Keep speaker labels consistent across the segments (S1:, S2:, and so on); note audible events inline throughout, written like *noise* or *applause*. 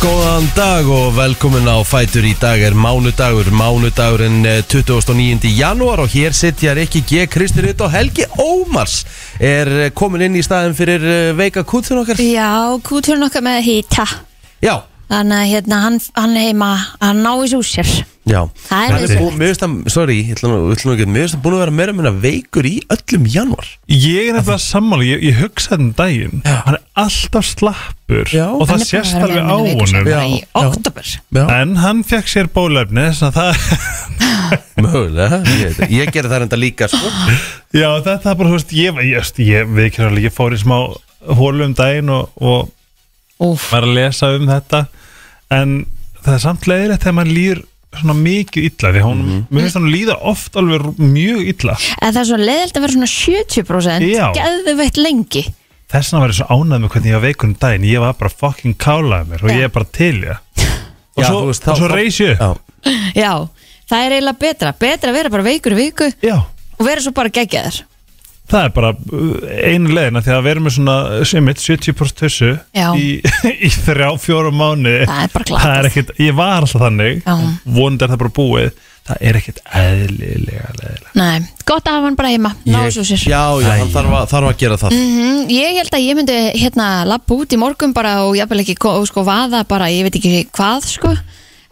S1: Góðan dag og velkomin á Fætur í dag er mánudagur, mánudagurinn eh, 29. janúar og hér sittja Rikki G. Kristirit og Helgi Ómars er eh, komin inn í staðin fyrir eh, veika kútun okkar.
S2: Já, kúturinn okkar með hýta
S1: Já,
S2: Þannig að hérna, hann, hann er heima að ná þessu úr sér
S1: já.
S2: Það er
S1: Hann
S2: viðurlegt.
S1: bú- Mér finnst það, sorry, ég ætla nú ég ætla nú ekki, mér finnst það búin að vera meira meina veikur í öllum janúar.
S3: Ég er nefnilega sammála, ég, ég hugsaði þann daginn Hann er alltaf slappur
S1: Já.
S3: Og það sést alveg á honum
S1: Já,
S2: hérna Í
S1: já.
S2: oktober
S1: Já,
S3: En hann fekk sér bólefni Þannig að það, *laughs*
S1: mögulega, ég, ég gerði það enda líka sko.
S3: já þetta er bara, þú veist Ég, ég, ég, ég við kynna alveg, ég fór í smá hólu um daginn og, og
S2: Úf,
S3: var að lesa um þetta En það er samt leiðilegt þegar maður líður svona mikið illa því hún,
S1: Mhm.
S3: mér finnst hann líða oft alveg r- mjög illa
S2: en það er svo leiðilt að vera svona 70%
S3: Já.
S2: Geðveitt lengi
S3: þess vegna var ég svo ánægð með hvernig ég var veikur um daginn ég var bara fucking kálaði mér og ég er bara til ja. og
S1: Já,
S3: svo,
S1: þú veist, þá-
S3: og svo
S1: þá-
S3: reis ég upp.
S1: Já,
S2: Já, það er eiginlega betra Betra að vera bara veikur í viku
S3: já,
S2: Og vera svo bara geggjaður
S3: Það er bara uh, einu leiðina því að vera með svona simit 70% tussu
S2: Já.
S3: í, *laughs* í þrjá, fjóra mánu
S2: Það er bara glatað.
S3: ekkit, ég var alltaf þannig
S2: Já.
S3: vonandi er það bara búið það er ekkit eðlilega leðilega
S2: Nei, gott að hafa hann bara heima Ná
S1: ég,
S2: þessu úr sér
S1: já, já, hann þarf að, þarf að gera það.
S2: Mm, ég held að ég myndi hérna lappa út í morgun bara og jafnvel ekki ko- sko vaða bara, ég veit ekki hvað sko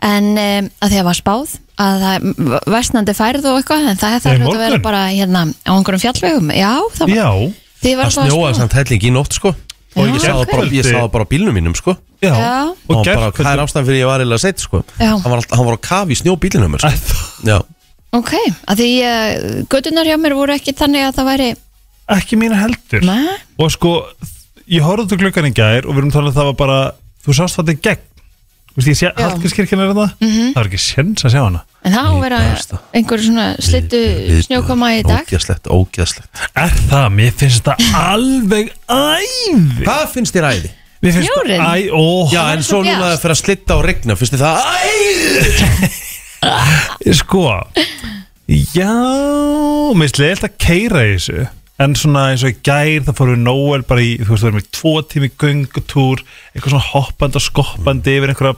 S2: en um, að því að var spáð að það m- versnandi færð og eitthvað en það
S3: Í
S2: þarf að
S3: morgun?
S2: vera bara hérna á einhverjum fjallvegum, já það var,
S3: Já,
S2: því var
S1: Það
S2: alltaf að
S1: snjóaði
S2: spá.
S1: samt helling í nótt sko
S3: Já,
S1: Og ég sá það bara, ég sá það bara á bílnum mínum sko
S3: já,
S2: Já.
S1: Og,
S3: og
S1: bara,
S3: gerð
S1: hvað er ástæðan fyrir ég var eiginlega sett sko
S2: Já.
S1: hann var, alltaf, hann var á kafi í snjóbílinu mér sko Já,
S2: ok, að því uh, gödunar hjá mér voru ekki þannig að það væri
S3: ekki mína heldur
S2: Nei.
S3: og sko, ég horfði út úr glukkan í gær og við erum talað um að það var bara þú sást þetta í gegn Þú veist, ég sé, Hallgrímskirkjan er það
S2: Mhm.
S3: það var ekki sjens að sjá hana
S2: en það á að vera
S1: Viðbjóðslega.
S2: einhver svona slittu snjókoma í dag
S1: Ógæslegt, ógæslegt
S3: er það, mér finnst þetta alveg æði
S1: Hvað finnst þér æði?
S3: Mér finnst
S2: Snjórinn?
S3: Æ, ó,
S1: Já,
S2: Það er
S1: en
S2: svo
S1: svo núna
S2: bjart.
S1: fyrir að slitta og regna Finnst þér það æði?
S3: *laughs* sko Já, mér finnst leiðilt að keira í þessu En svona eins og í gær það fórum við Nóel bara í, þú veist, við erum í tvo tími göngutúr, eitthvað svona hoppandi og skoppandi yfir einhverja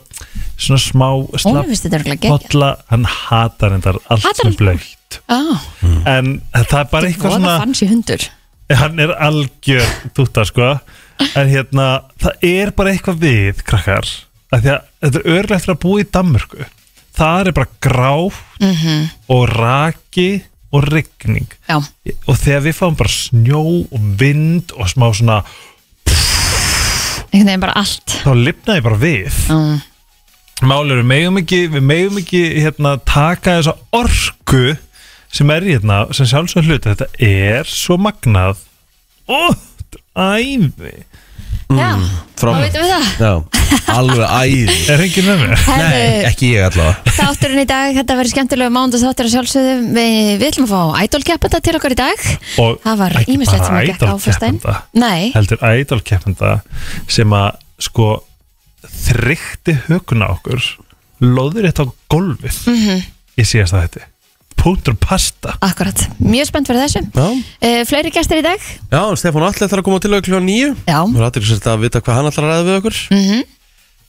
S3: svona smá
S2: Óli finnst þetta örugglega geggjað.
S3: bolla, hann hatar þetta allt
S2: Hatar
S3: sem
S2: hann?
S3: er blöitt
S2: ah,
S3: En það er bara eitthvað
S2: voða
S3: svona
S2: fanns í hundur
S3: hann er algjör túta sko en hérna, það er bara eitthvað við krakkar, af því að þetta er örlega eftir að búa í Danmörku það er bara grá og raki og rigning
S2: já,
S3: og þegar við fáum bara snjó og vind og smá svona
S2: einhvern veginn bara allt
S3: þá lifnaði bara við
S2: um,
S3: málið er við megum ekki, við megum ekki hérna, taka þessa orku sem er í hérna, sem sjálfsög hluta þetta er svo magnað ó, þetta er æði
S2: já,
S1: Frá
S3: Mm.
S2: þá veitum við það
S1: Já, alveg æði
S3: Er enginn með mér?
S2: Herðu,
S1: Nei, ekki ég allavega
S2: Þátturinn í dag, þetta verður skemmtilega mándu þáttur að sjálfsögðu, við, við ætlum að fá ædolkeppenda til okkar í dag
S3: Og
S2: Það var
S3: ekki
S2: ýmislegt sem
S3: bara
S2: að gekk á fyrstæn
S3: Idol-keppenda,
S2: Nei,
S3: Heldur ædolkeppenda sem að sko þrykti hökuna okkur loður þetta á gólfið mm
S2: Mhm.
S3: -hmm. ég síðast að þetta punktur pasta
S2: akkurat, mjög spennt fyrir þessu
S1: Já,
S2: uh, Fleiri gestir í dag
S1: já Stefán Atli ætlar að koma til auðvitað nýju
S2: Já, Mhm.
S1: Það er aðtryggsvægt að vita hvað hann ætlar að ræða við okkur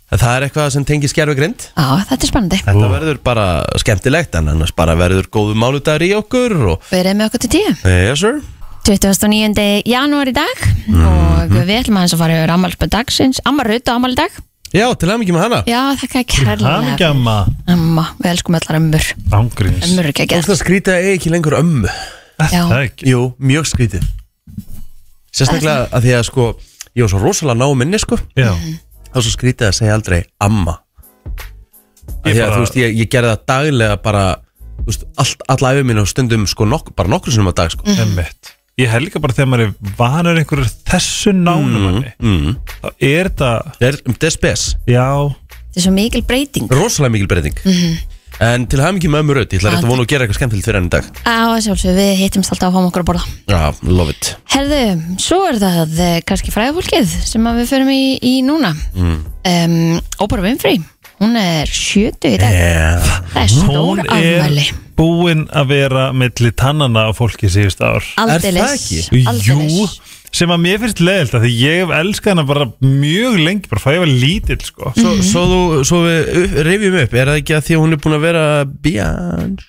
S1: En það er eitthvað sem tengi skerfegrind
S2: á, þetta er spennandi
S1: Þetta verður bara skemmtilegt en annars bara verður góðu mánudagur í okkur og
S2: Við erum með okkur til tíu
S1: yes sir
S2: 29. janúar í dag og við ætlum aðeins að fara yfir ammálspöð dagsins Amma Rutt á ammál í dag
S1: Já, til aðmyggjum með hana
S2: Já, þakka þér
S3: hann
S2: kærlega
S3: gamma
S2: Amma, við elskum allar ömmur
S3: ángríns
S2: Ömmur er ekki að
S1: Það skrítið að eiga ekki lengur ömmu
S3: það er ekki
S1: Jú, mjög skrítið Sérstaklega að því að sko Ég var svo rosalega ná minni sko
S3: Já.
S2: Mhm.
S1: Það var svo skrítið að segja aldrei amma Af
S3: Ég
S1: Því að
S3: bara-
S1: þú veist, ég, ég gerði það daglega bara þú veist, allt, Alla æfið mín og stundum sko nok, bara nokkru sinnum á dag sko
S3: Einmitt. ég held líka bara þegar maður er vanur einhverju þessu nánum manni
S1: mm.
S3: þá er þetta
S1: Það er um despes
S3: já,
S2: Þetta er svo mikil breyting
S1: Rosalega mikil breyting En til hamingjum með ömmu raut Ég ætla rétt að vona að gera eitthvað skemmtilegt fyrir henni í dag
S2: Á, sjálfsögðu, við hittumst alltaf að fáum okkur að borða
S1: Já, love it
S2: Herðu, svo er það eh, kannski fræðafólkið sem að við förum í, í núna mm. um, Ópar Winfrey, hún er sjötu í dag
S1: yeah.
S2: Það er stór
S3: Eh, hún er
S2: afmæli
S3: búin að vera milli tannana á fólki síðust ár
S2: Aldeilis
S1: ekki?
S2: aldeilis.
S3: Jú, sem að mér finnst leðilt að því ég hef elskað hana bara mjög lengi bara fæ ég var lítill sko
S1: Svo, svo, þú, svo við upp, rifjum upp, er það ekki að því að hún er búin að vera Beyond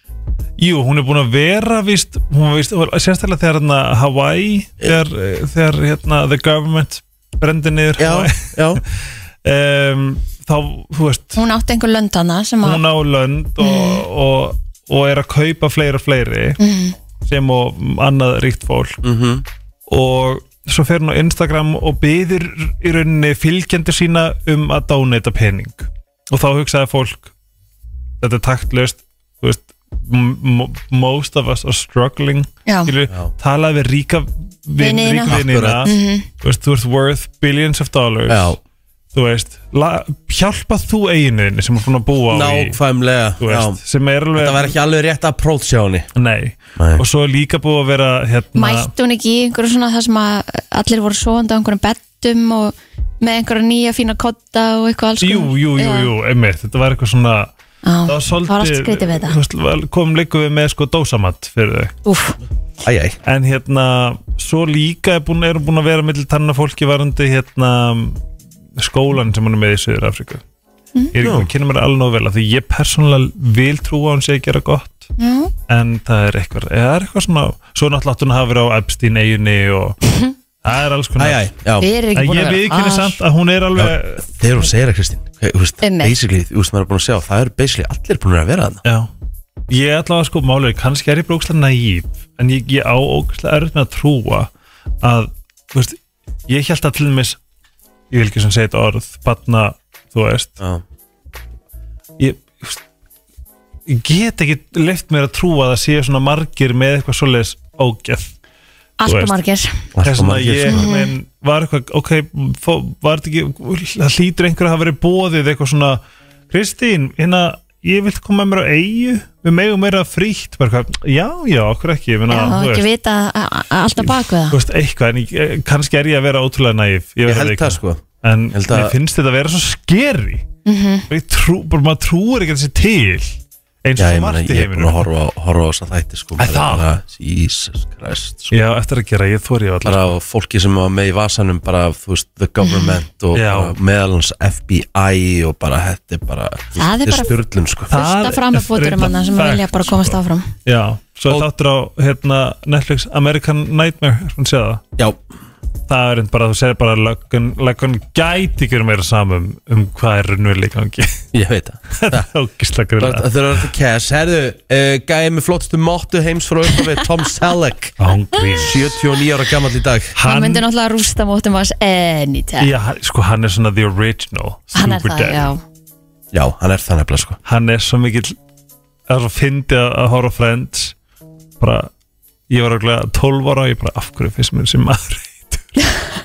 S3: Jú, hún er búin að vera víst, hún var víst, hún var- sérstaklega þegar hérna, Hawaii þegar, eh, þegar hérna, the government brendi niður
S1: Já,
S3: Hawaii
S1: já,
S3: um, þá, þú veist,
S2: Hún átti einhver löndana sem að
S3: hún á lönd og, og, og, er að kaupa fleiri og fleiri
S2: mm,
S3: sem og annað ríkt fólk
S1: mhm
S3: og svo fer hún á Instagram og byður í rauninni fylgjendur sína um að dáneta pening og þá hugsaði fólk þetta er taktlöst þú veist, m- m- most of us are struggling
S2: Já,
S3: skilur,
S1: Já.
S3: talaði við ríka vin,
S2: Vinina.
S3: ríka vinina
S1: Akkurat.
S2: Mhm.
S3: þú veist, þú ert worth billions of dollars
S1: Já,
S3: þú veist, la, hjálpa þú eiginuðinni sem er svona að búa á í
S1: nákvæmlega
S3: þú
S1: já.
S3: veist, sem er alveg
S1: Þetta var ekki alveg rétt að prótsjá henni
S3: nei.
S1: Nei.
S3: og svo er líka búið að vera hérna,
S2: mætti hún ekki í einhverju svona það sem að allir voru svoandi á einhverjum bettum og með einhverja nýja fína kotta og eitthvað alls
S3: jú, jú, jú, jú, einmitt þetta var eitthvað svona það var
S2: Það var allt skrítið við þetta.
S3: svolítið komum líka við með sko dósamatt fyrir þau
S2: Úf,
S1: Æj, æj,
S3: en hérna, svo líka er búin, erum búin að vera millir tanna fólki varandi hérna skólan sem hann er með í Suður Afríku
S2: Mhm.
S3: ég er ekki búin að kynna mér alveg nóg vel af því ég persónulega vil trúa að hún sé að gera gott
S2: já,
S3: en það er eitthvað, eða er eitthvað svona svo náttúrulega átti hún að hafa verið á Epstein eiginni
S2: *laughs*
S3: og það er alls
S1: æj,
S3: konar
S1: æj, já
S2: við erum ekki
S3: en
S2: búin
S3: ég
S2: að
S3: viðkynni samt að hún er alveg
S1: Þegar hún segir það Kristín hve- þú veist,
S2: Einmitt.
S1: Basically, þú veist, maður er búin að sjá Það eru basically allir búin að vera þarna
S3: Já Ég ætla að sko málega, kannski er ég brókslega naív En ég, ég á ókslega erfitt með að trúa Að, þú veist Ég held að til dæmis Ég vil ekki sem segja þetta orð, batna Þú veist,
S1: Já,
S3: ég, þú veist, ég get ekki Leift mér að trúa að það séu svona margir Með eitthvað svoleiðis ógeð
S2: Ah, allt
S3: veist.
S2: og margir
S1: allt
S3: Þess
S1: of
S3: vegna
S1: margir, sko.
S3: ég,
S1: svona.
S3: menn, var eitthvað Ok, fó, var þetta ekki Það hlýtur einhver að hafa verið bóðið eitthvað svona Kristín, hérna Ég vilt koma með mér á eigu Við megum meira frítt bara, eitthvað, Já, já, okkur ekki ég meina,
S2: Já,
S3: þú
S2: ekki
S3: veist,
S2: vita að- að- að alltaf bak við
S3: þú
S2: það
S3: veist, eitthvað, en ég, eh, kannski er ég að vera ótrúlega næf Ég,
S1: Ég
S3: veit
S1: held
S3: ekki.
S1: það sko
S3: En
S1: Held að-
S3: mér finnst þetta að vera svo skeri mm
S2: Mhm.
S3: -hmm. trú, Bara maður trúir ekki þessi til Eins
S1: Já, ég
S3: og svo
S1: meina,
S3: margt í
S1: ég er búin að
S3: heiminum
S1: horfa á- horfa á þess að þætti sko
S3: Æ, það?
S1: Jesus Christ sko
S3: Já, eftir að gera, ég þóri á allar
S1: bara á fólki sem var með í vasanum bara, þú veist, the government og
S3: Já.
S1: bara meðalans FBI og bara, þetta er bara
S2: Það er bara-
S1: styrlun, sko
S3: Það
S2: Fyrsta
S3: er
S2: framafóturum
S3: reyndar
S2: manna sem
S3: fact,
S2: vilja bara komast áfram
S3: Já, svo
S1: Og-
S3: og... þáttur á hérna, Netflix American Nightmare er búin að sjá það
S1: Já,
S3: það er bara, þú segir bara löggun, löggun gæti ekki meira samum um hvað er raunverið í gangi *laughs*
S1: ég veit það
S3: þetta er ógislega grilla
S1: Það er þetta cash, herðu, uh, gæði með flottstu mottu heims frá uppafið Tom Selleck
S3: ángrín
S1: 79 ára gammal í dag
S2: Hann
S3: hann,
S2: myndi náttúrulega rústa mótum hans anytime
S3: já, hann- sko, hann er svona the original
S2: Hann er það,
S3: Superdad.
S2: já
S1: Já, hann er það nefnilega, sko
S3: hann er svo mikill það er svo fyndið að- að horfa á Friends bara, ég var örugglega 12 ára og ég bara, af hverju finnst mér sem maður *laughs*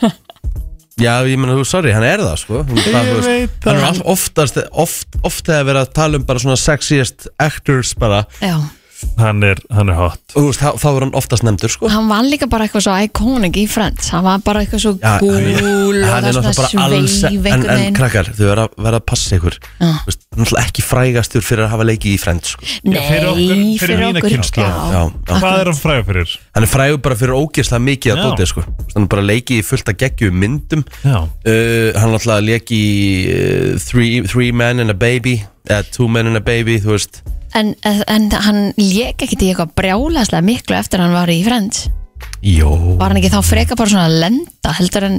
S1: Já, ég meina, þú, sorry, hann er það, sko Hún, það, þú
S3: ég
S1: veist,
S3: veit
S1: Hann
S3: það
S1: er all, oftast, oft, oft hefur verið að tala um bara svona sexiest actors bara
S2: Já,
S3: hann er, hann er hot
S1: Þú veist, þá, þá er hann oftast nefndur, sko
S2: hann var líka bara eitthvað svo iconic í Friends Hann var bara eitthvað svo
S1: Já,
S2: gúl
S1: hann er-
S2: og
S1: hann er
S2: það svona
S1: náttúrulega bara alls
S2: sveif
S1: en,
S2: einhvern
S1: en
S2: veginn
S1: krakkar, þau verða verða að passa ykkur
S2: Já.
S1: Þú veist, náttúrulega ekki frægastur fyrir að hafa leikið í frend sko.
S2: Nei,
S3: Já, fyrir okkur- fyrir mína kynslóð.
S1: Já,
S2: já.
S1: já.
S3: hvað er hann fræður fyrir?
S1: hann er frægur bara fyrir ógeðslega mikið að
S3: Já.
S1: dótið sko. Þú veist, hann er bara leikið í fullt að geggjum myndum
S3: Já.
S1: uh, hann náttúrulega leiki í uh, three, three men and a baby eða two men and a baby þú veist
S2: En, en hann lék ekkert í eitthvað brjálæslega miklu eftir hann var í Friends
S1: Jó,
S2: Var hann ekki þá freka bara svona að lenda heldur en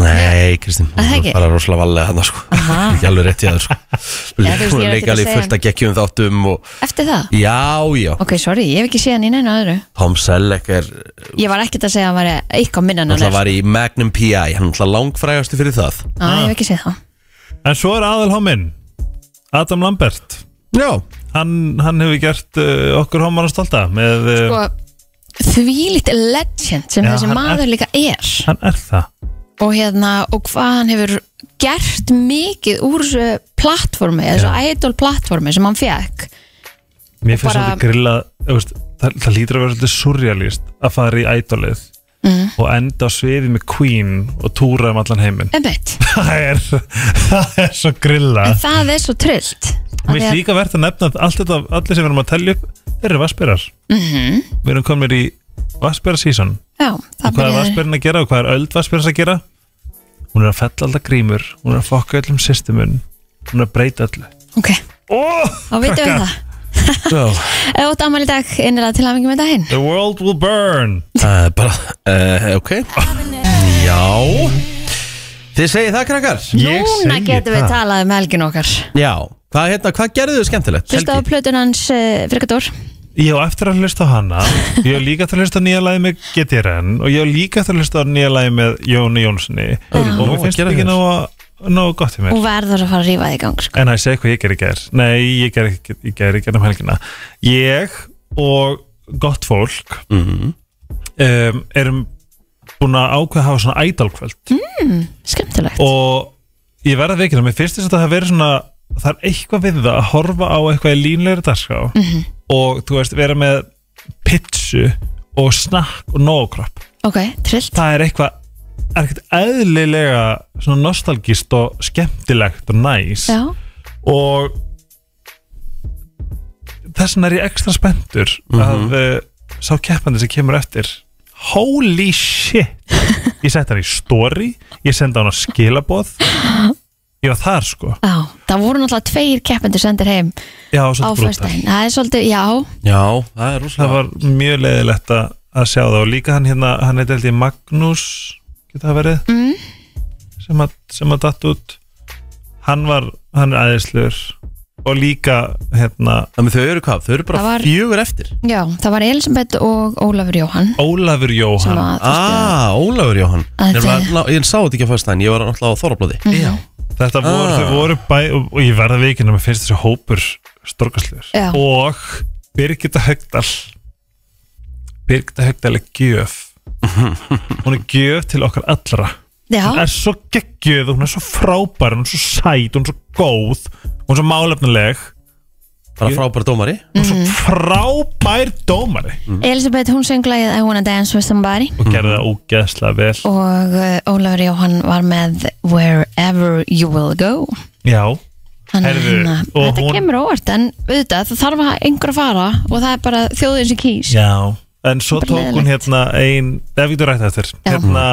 S1: nei Kristín
S2: Að það ekki?
S1: bara rosalega valega hann sko.
S2: Aha.
S1: ekki alveg rétt í það sko.
S2: Já, þú veist, ég er ekkert
S1: leika alveg
S2: að
S1: í
S2: segja
S1: fullt að geggjum þáttum og...
S2: eftir það?
S1: já, já,
S2: Ok, sorry, ég hef ekki séð hann í neina öðru
S1: Tom Selleck er
S2: Ég var ekkert að segja að hann væri eitthvað minna en
S1: Hann
S2: hann
S1: alltaf
S2: er
S1: var í Magnum P.I. Hann alltaf langfrægastu fyrir það
S2: Já, ég hef ekki séð það
S3: En svo er aðalhóminn Adam Lambert
S1: Já
S3: Hann, hann hefur gert uh, okkur hómar að stolta með, uh,
S2: Og Sko, þvílíkt legend sem
S3: Já,
S2: þessi
S3: hann
S2: maður
S3: er-
S2: líka er
S3: Hann er það
S2: og hérna, og hvað hann hefur gert mikið úr þessu plattformi, þessu idol plattformi sem hann fekk
S3: Mér finnst
S2: bara-
S3: þetta grilla þú veist, það, það lítur að vera svolítið surrealist að fara í ædolið
S2: Mm.
S3: og enda á sviði með Queen og túra um allan heiminn *laughs*
S2: Einmitt.
S3: það, er, það er svo grilla
S2: En það er svo trillt
S3: Mér finnst líka verðt að nefna að allt þetta, allir sem við erum að telja upp þeir eru vaspirar
S2: mm -hmm.
S3: Við erum komin í Vassbjörn season
S2: Já, það
S3: Hvað er
S2: byrjaði
S3: Vassbjörn að gera og hvað er öld Vassbjörn að gera Hún er að fella alltaf grímur Hún er að fokka öllum systemun Hún er að breyta öllu
S2: Ok,
S3: oh,
S2: þá veitum við það Eh,
S1: Já,
S2: Ef þú átt ammali dag, innlega til hafingi með daginn
S3: The world will burn
S1: það er bara, uh, ok Já Þið segið það krakkar
S3: Ég
S2: Núna
S3: segi
S2: getum við
S3: það.
S2: talað um helgin okkar
S1: Já, hvað, hérna, hvað gerðu þau skemmtilegt?
S2: Hlusta á plötun hans uh, Frikador
S3: Ég á eftir að hlusta á hana Ég á líka eftir að hlusta á nýja lagi með GTRN Og ég á líka eftir að hlusta á nýja lagi með Jóni Jónssoni Og
S1: nóg
S3: mér
S1: að
S3: finnst
S1: gera
S3: þetta ekki
S1: hjá
S3: nóg, að- nóg gott í mér
S2: og verður að fara að rífa þig í gang sko.
S3: En það er segja hvað ég gerði í gær Nei, ég gerði ekki í gær, ég gerði um helgina Ég og gott fólk
S1: Mhm.
S3: um, Erum búin að ákveða að hafa svona ædalkvöld
S2: Skemmtilegt
S3: og ég verða veikina, mér finnst þess að það hafi verið svona það er eitthvað við það að horfa á eitthvað í línlegri dagskrá og þú veist, vera með pitsu og snakk og nógkropp
S2: Ok, trillt
S3: það er eitthvað er ekkert eðlilega svona nostalgist og skemmtilegt og næs
S2: Já,
S3: og þess vegna er ég ekstra spenntur að uh, sá keppandi sem kemur eftir holy shit ég setti hann í story ég sendi hann á skilaboð ég var þar sko
S2: já, það voru náttúrulega tveir keppendur sendir heim
S3: já,
S2: á
S3: svolítið brútal
S2: föstudaginn Það er svolítið, já,
S1: Já, það er
S3: það
S1: rosalega
S3: var mjög leiðilegt að, að sjá það og líka hann hérna, hann heiti held ég Magnús geta það verið mm. sem, að, sem að datt út hann var, hann er æðislur og líka hérna
S1: Þannig þau eru hvað, þau eru bara
S2: Það var-
S1: fjögur eftir
S2: já, það var Elisabeth og Ólafur Jóhann
S3: Ólafur
S2: sem
S3: Jóhann
S2: að, þú veist,
S1: Ah, Ólafur Jóhann
S2: Að Mhm.
S1: Nefnilega,
S2: þið-
S1: ná- Ég sá þetta ekki að fyrst en ég var náttúrulega á Þorablaði
S3: Já Þetta voru,
S1: Ah.
S3: þau voru bæ og, og ég verða vikinn að mér finnst þessi hópur
S2: Já.
S3: storkastlegur og Birgitta Högdal Birgitta Högdal er gjöf
S2: *laughs*
S3: hún er gjöf til okkar allra hún
S2: já,
S3: er svo geggjöf, hún er svo frábær hún er svo sæt, hún er svo góð hún er svo málefnileg
S1: Bara frábæra dómari
S3: hún er
S2: Mhm.
S3: svo frábær dómari
S2: Elisabeth hún sönglaði I wanna dance with somebody
S3: og gerði það ógeðslega vel
S2: Mhm. og uh, Ólafur Jóhann var með Wherever you will go
S3: Já,
S2: Þannig að
S3: Heyrðu,
S2: hérna,
S3: og
S2: þetta
S3: hún-
S2: kemur á óvart en auðvitað, það þarf að einhver að fara og það er bara þjóðin sem kýs
S3: Já, en svo
S2: Bara
S3: tók hún
S2: leiðinlegt.
S3: hérna ein, eða við þú rætt eftir
S2: Já. Mhm.
S3: hérna,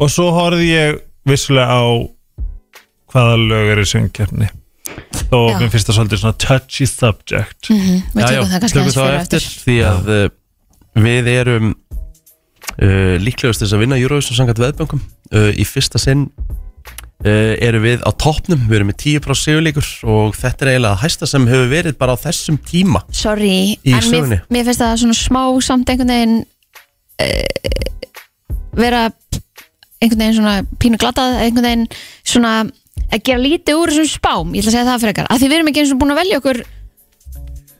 S3: og svo horfði ég vissulega á hvaða lög er í söngkeppni og
S2: Já.
S3: mér finnst það svolítið svona touchy subject
S2: Mhm, Við tökum það kannski
S1: tökum
S2: aðeins
S1: þá
S2: fyrir
S1: eftir
S2: eftir
S1: Því að uh, við erum uh, líklegust þess að vinna Eurovision sangat veðböngum uh, Í fyrsta sinn uh, erum við á toppnum Við erum með 10% sigurleikur og þetta er eiginlega að hæsta sem hefur verið bara á þessum tíma
S2: Sorry,
S1: Í
S2: en mér,
S1: sögunni.
S2: mér finnst það svona smá samt einhvern veginn uh, vera einhvern veginn svona pínu glatað einhvern veginn svona að gera lítið úr þessum spám, ég ætla að segja það fyrir ekkar að því við erum ekki eins og búin að velja okkur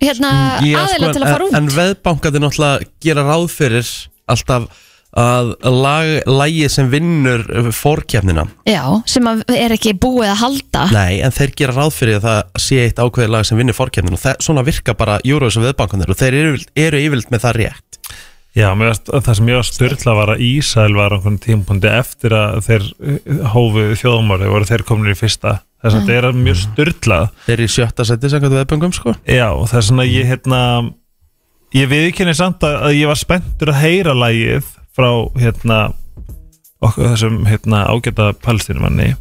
S2: hérna
S1: Ég,
S2: aðeila
S1: sko,
S2: til að fara
S1: en-
S2: út
S1: En veðbankandi náttúrulega gera ráð fyrir alltaf að lag, lagi sem vinnur fórkjafnina
S2: Já, sem að er ekki búið að halda
S1: Nei, en þeir gera ráð fyrir að það sé eitt ákveðið lag sem vinnur fórkjafnina og það, svona virka bara Eurovision veðbankandir og þeir eru, yfirleitt- eru yfirleitt með það rétt
S3: Já, mér varst, það sem ég var styrla var að Ísæl var á einhvern tímpundi eftir að þeir eh, hófu þjóðumari voru þeir kominir í fyrsta þess
S2: Mhm.
S3: að mm. þetta er mjög styrlað
S1: Þeir eru í sjötta seti samkvæmt veðbangum sko
S3: Já, það er svona ég hérna ég viðkynni samt að, að ég var spenntur að heyra lagið frá hérna okkur þessum hérna ágæta palestinumanni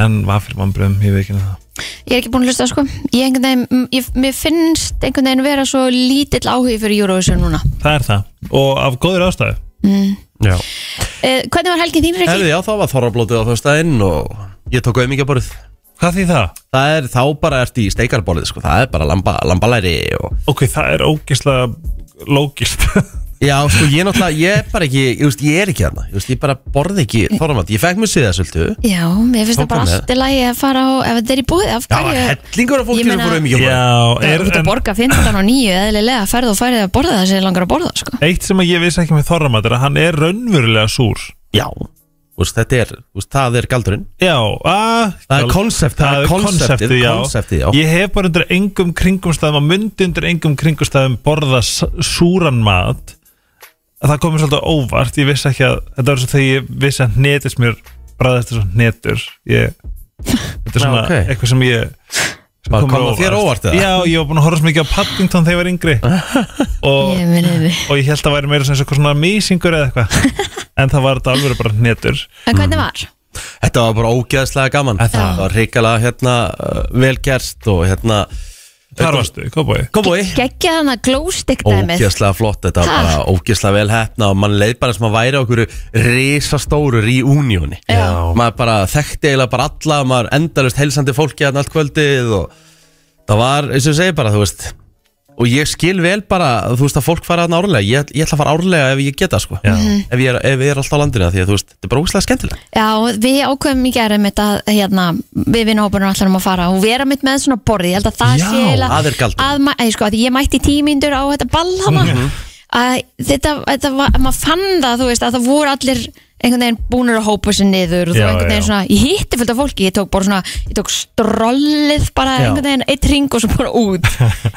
S3: en var fyrir mannbröðum, ég viðkynni það
S2: Ég er ekki búin að hlusta sko ég einhvern veginn, m- ég, Mér finnst einhvern veginn vera svo lítill áhugi fyrir Eurovision núna
S3: Það er það og af góður ástæðu
S1: Já
S2: uh, Hvernig var helgin þín, Rikki?
S1: Herði, já, þá var þorrablótið á þjóðstæðin og ég tók auðmingjaborð
S3: Hvað því það?
S1: Það er þá bara ert í steikarborðið sko, það er bara lamba, lambalæri og
S3: Ok, það er ógeðslega lógist
S1: Já, sko, ég náttúrulega, ég er bara ekki, ég, veist, ég er ekki þarna, ég, veist, ég bara borði ekki þorramat, ég fekk mér siðasöldu
S2: Já, mér finnst
S1: Þá
S2: það bara
S1: komið.
S2: allt í lagi að fara á ef þetta er í búið, af
S1: Já, var
S2: hverju
S1: hellingur af
S2: Ég
S1: fólkinu
S2: meina-
S1: fór um ekki
S3: *laughs* Já,
S2: Það er út að
S3: en,
S2: borga 15 og 9 eðlilega ferð og færið að borða það sem þig langar að borða sko.
S3: eitt sem að ég vissi ekki með Þorramat er að hann er raunverulega súr
S1: Já, úst, þetta er, úst, það er galdurinn
S3: Já, ah, að
S1: Það er konsept, það er konseptið,
S3: konseptið, já.
S1: konseptið, já.
S3: Ég hef bara undir engum kringumstæðum að myndi undir engum kringumstæðum borða s- súran mat að það komið svolítið á óvart ég vissi ekki að, þetta var svo þegar ég vissi að hnetis mér bræðast þessu hnetur ég, þetta er
S1: Já,
S3: svona
S1: ok.
S3: eitthvað sem ég
S1: Bara kom á þér óvart, eða?
S3: Já, ég var búin að horfa svo mikið á Paddington þegar ég
S1: *laughs*
S3: var yngri og,
S2: Ég meni þið.
S3: og ég held að það væri meira sem eitthvað svona mísingur eða eitthvað en það var þetta alveg bara hnetur
S2: En hvernig var?
S1: Þetta var bara ógeðslega gaman
S3: Að það-
S1: Það var hrikalega hérna, uh, vel gert og hérna
S3: Þar varstu, kópói
S1: Koboi
S2: Gekkja hann að glowstick dæmið
S1: Ógeðslega flott, þetta var
S2: Ha.
S1: bara ógeðslega vel hefna og mann leið bara sem að væri okkur risastóru reunioni
S2: Já.
S1: maður bara þekkti eiginlega bara alla maður endalust heilsandi fólki hann allt kvöldið og það var, eins og ég segi bara, þú veist og ég skil vel bara, þú veist að fólk fara hann árlega ég, ég ætla að fara árlega ef ég geta sko
S3: Já.
S1: ef ég, er, ef ég er alltaf á landinu því að þú veist, þetta er bara ógeðslega skemmtilega
S2: Já, við ákveðum í gerum þetta hérna, við vinnahópunum allar um að fara og vera mitt með svona borði, ég held að það
S1: Já,
S2: sé eiginlega-
S1: að er galdur.
S2: að, ma- að, sko, að ég mætti tímindur á þetta ballhama mm
S3: Mhm.
S2: að þetta, þetta var, maður fann það þú veist að það voru allir einhvern veginn búnir að hópa sér niður og þú
S3: Já,
S2: einhvern veginn
S3: já.
S2: svona, ég hitti fullt af fólki ég tók bara svona, ég tók strollið bara
S3: Já.
S2: einhvern veginn, eitt ring og svo bara
S3: *laughs*
S2: út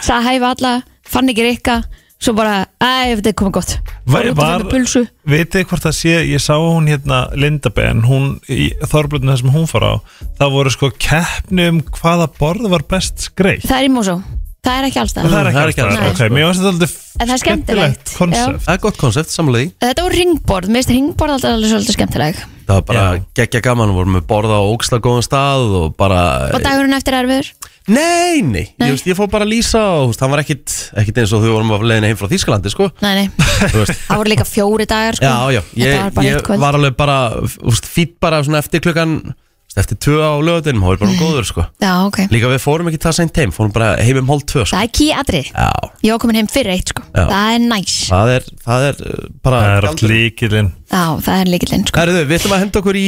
S2: sagði hæfa alla, fann ekki rikka svo bara, æ, þetta er komið gott
S3: Var,
S2: Fór út og
S3: var,
S2: fann mér pulsu.
S3: vitið þið hvort það sé ég sá hún hérna Linda Ben hún, í Þorblöðinu þar sem hún fór á það voru sko keppni um hvaða borð var best skreitt
S2: það er í Mosó, það er ekki allstað
S3: það er
S1: það er
S3: ekki
S1: ekki
S3: alltaf,
S1: alltaf,
S3: ok, mér finnst þetta
S2: En það
S3: aldrei
S2: er skemmtilegt, já.
S3: konsept
S1: það er gott konsept, samlega því
S2: Þetta voru ringborð, mér finnst ringborð alltaf alveg svolítið skemmtileg
S1: það var bara
S3: Já.
S1: geggja gaman, við vorum við borða á ógeðslega góðum stað og bara
S2: Og dagurinn eftir er erfiður
S1: Nei, nei,
S2: Nei.
S1: Ég, veist, ég fór bara að lýsa og þú veist, hann var ekkit, ekkit eins og þau vorum að leiðina heim frá Þýskalandi sko.
S2: Nei, nei,
S1: Þú veist,
S2: það voru líka fjóri dagar sko.
S1: Já, já,
S2: *laughs* Þetta
S1: ég,
S2: var bara eitt
S1: ég
S2: kvöld
S1: var alveg bara þú veist, fýtt bara svona eftir klukkan þú veist, eftir tvö á lögadinum, þá er bara góður sko.
S2: Já, ok,
S1: Líka við fórum ekki það seint heim, fórum bara heim um hálf tvö sko.
S2: það er ký aðri
S1: Já,
S2: Ég var komin heim fyrir eitt, sko
S1: Já.
S2: Það er næs,
S1: það er, það er uh, bara
S3: það er allt líkilinn
S2: já, það er líkillinn, sko
S1: Herðu, við ætlum að henda okkur í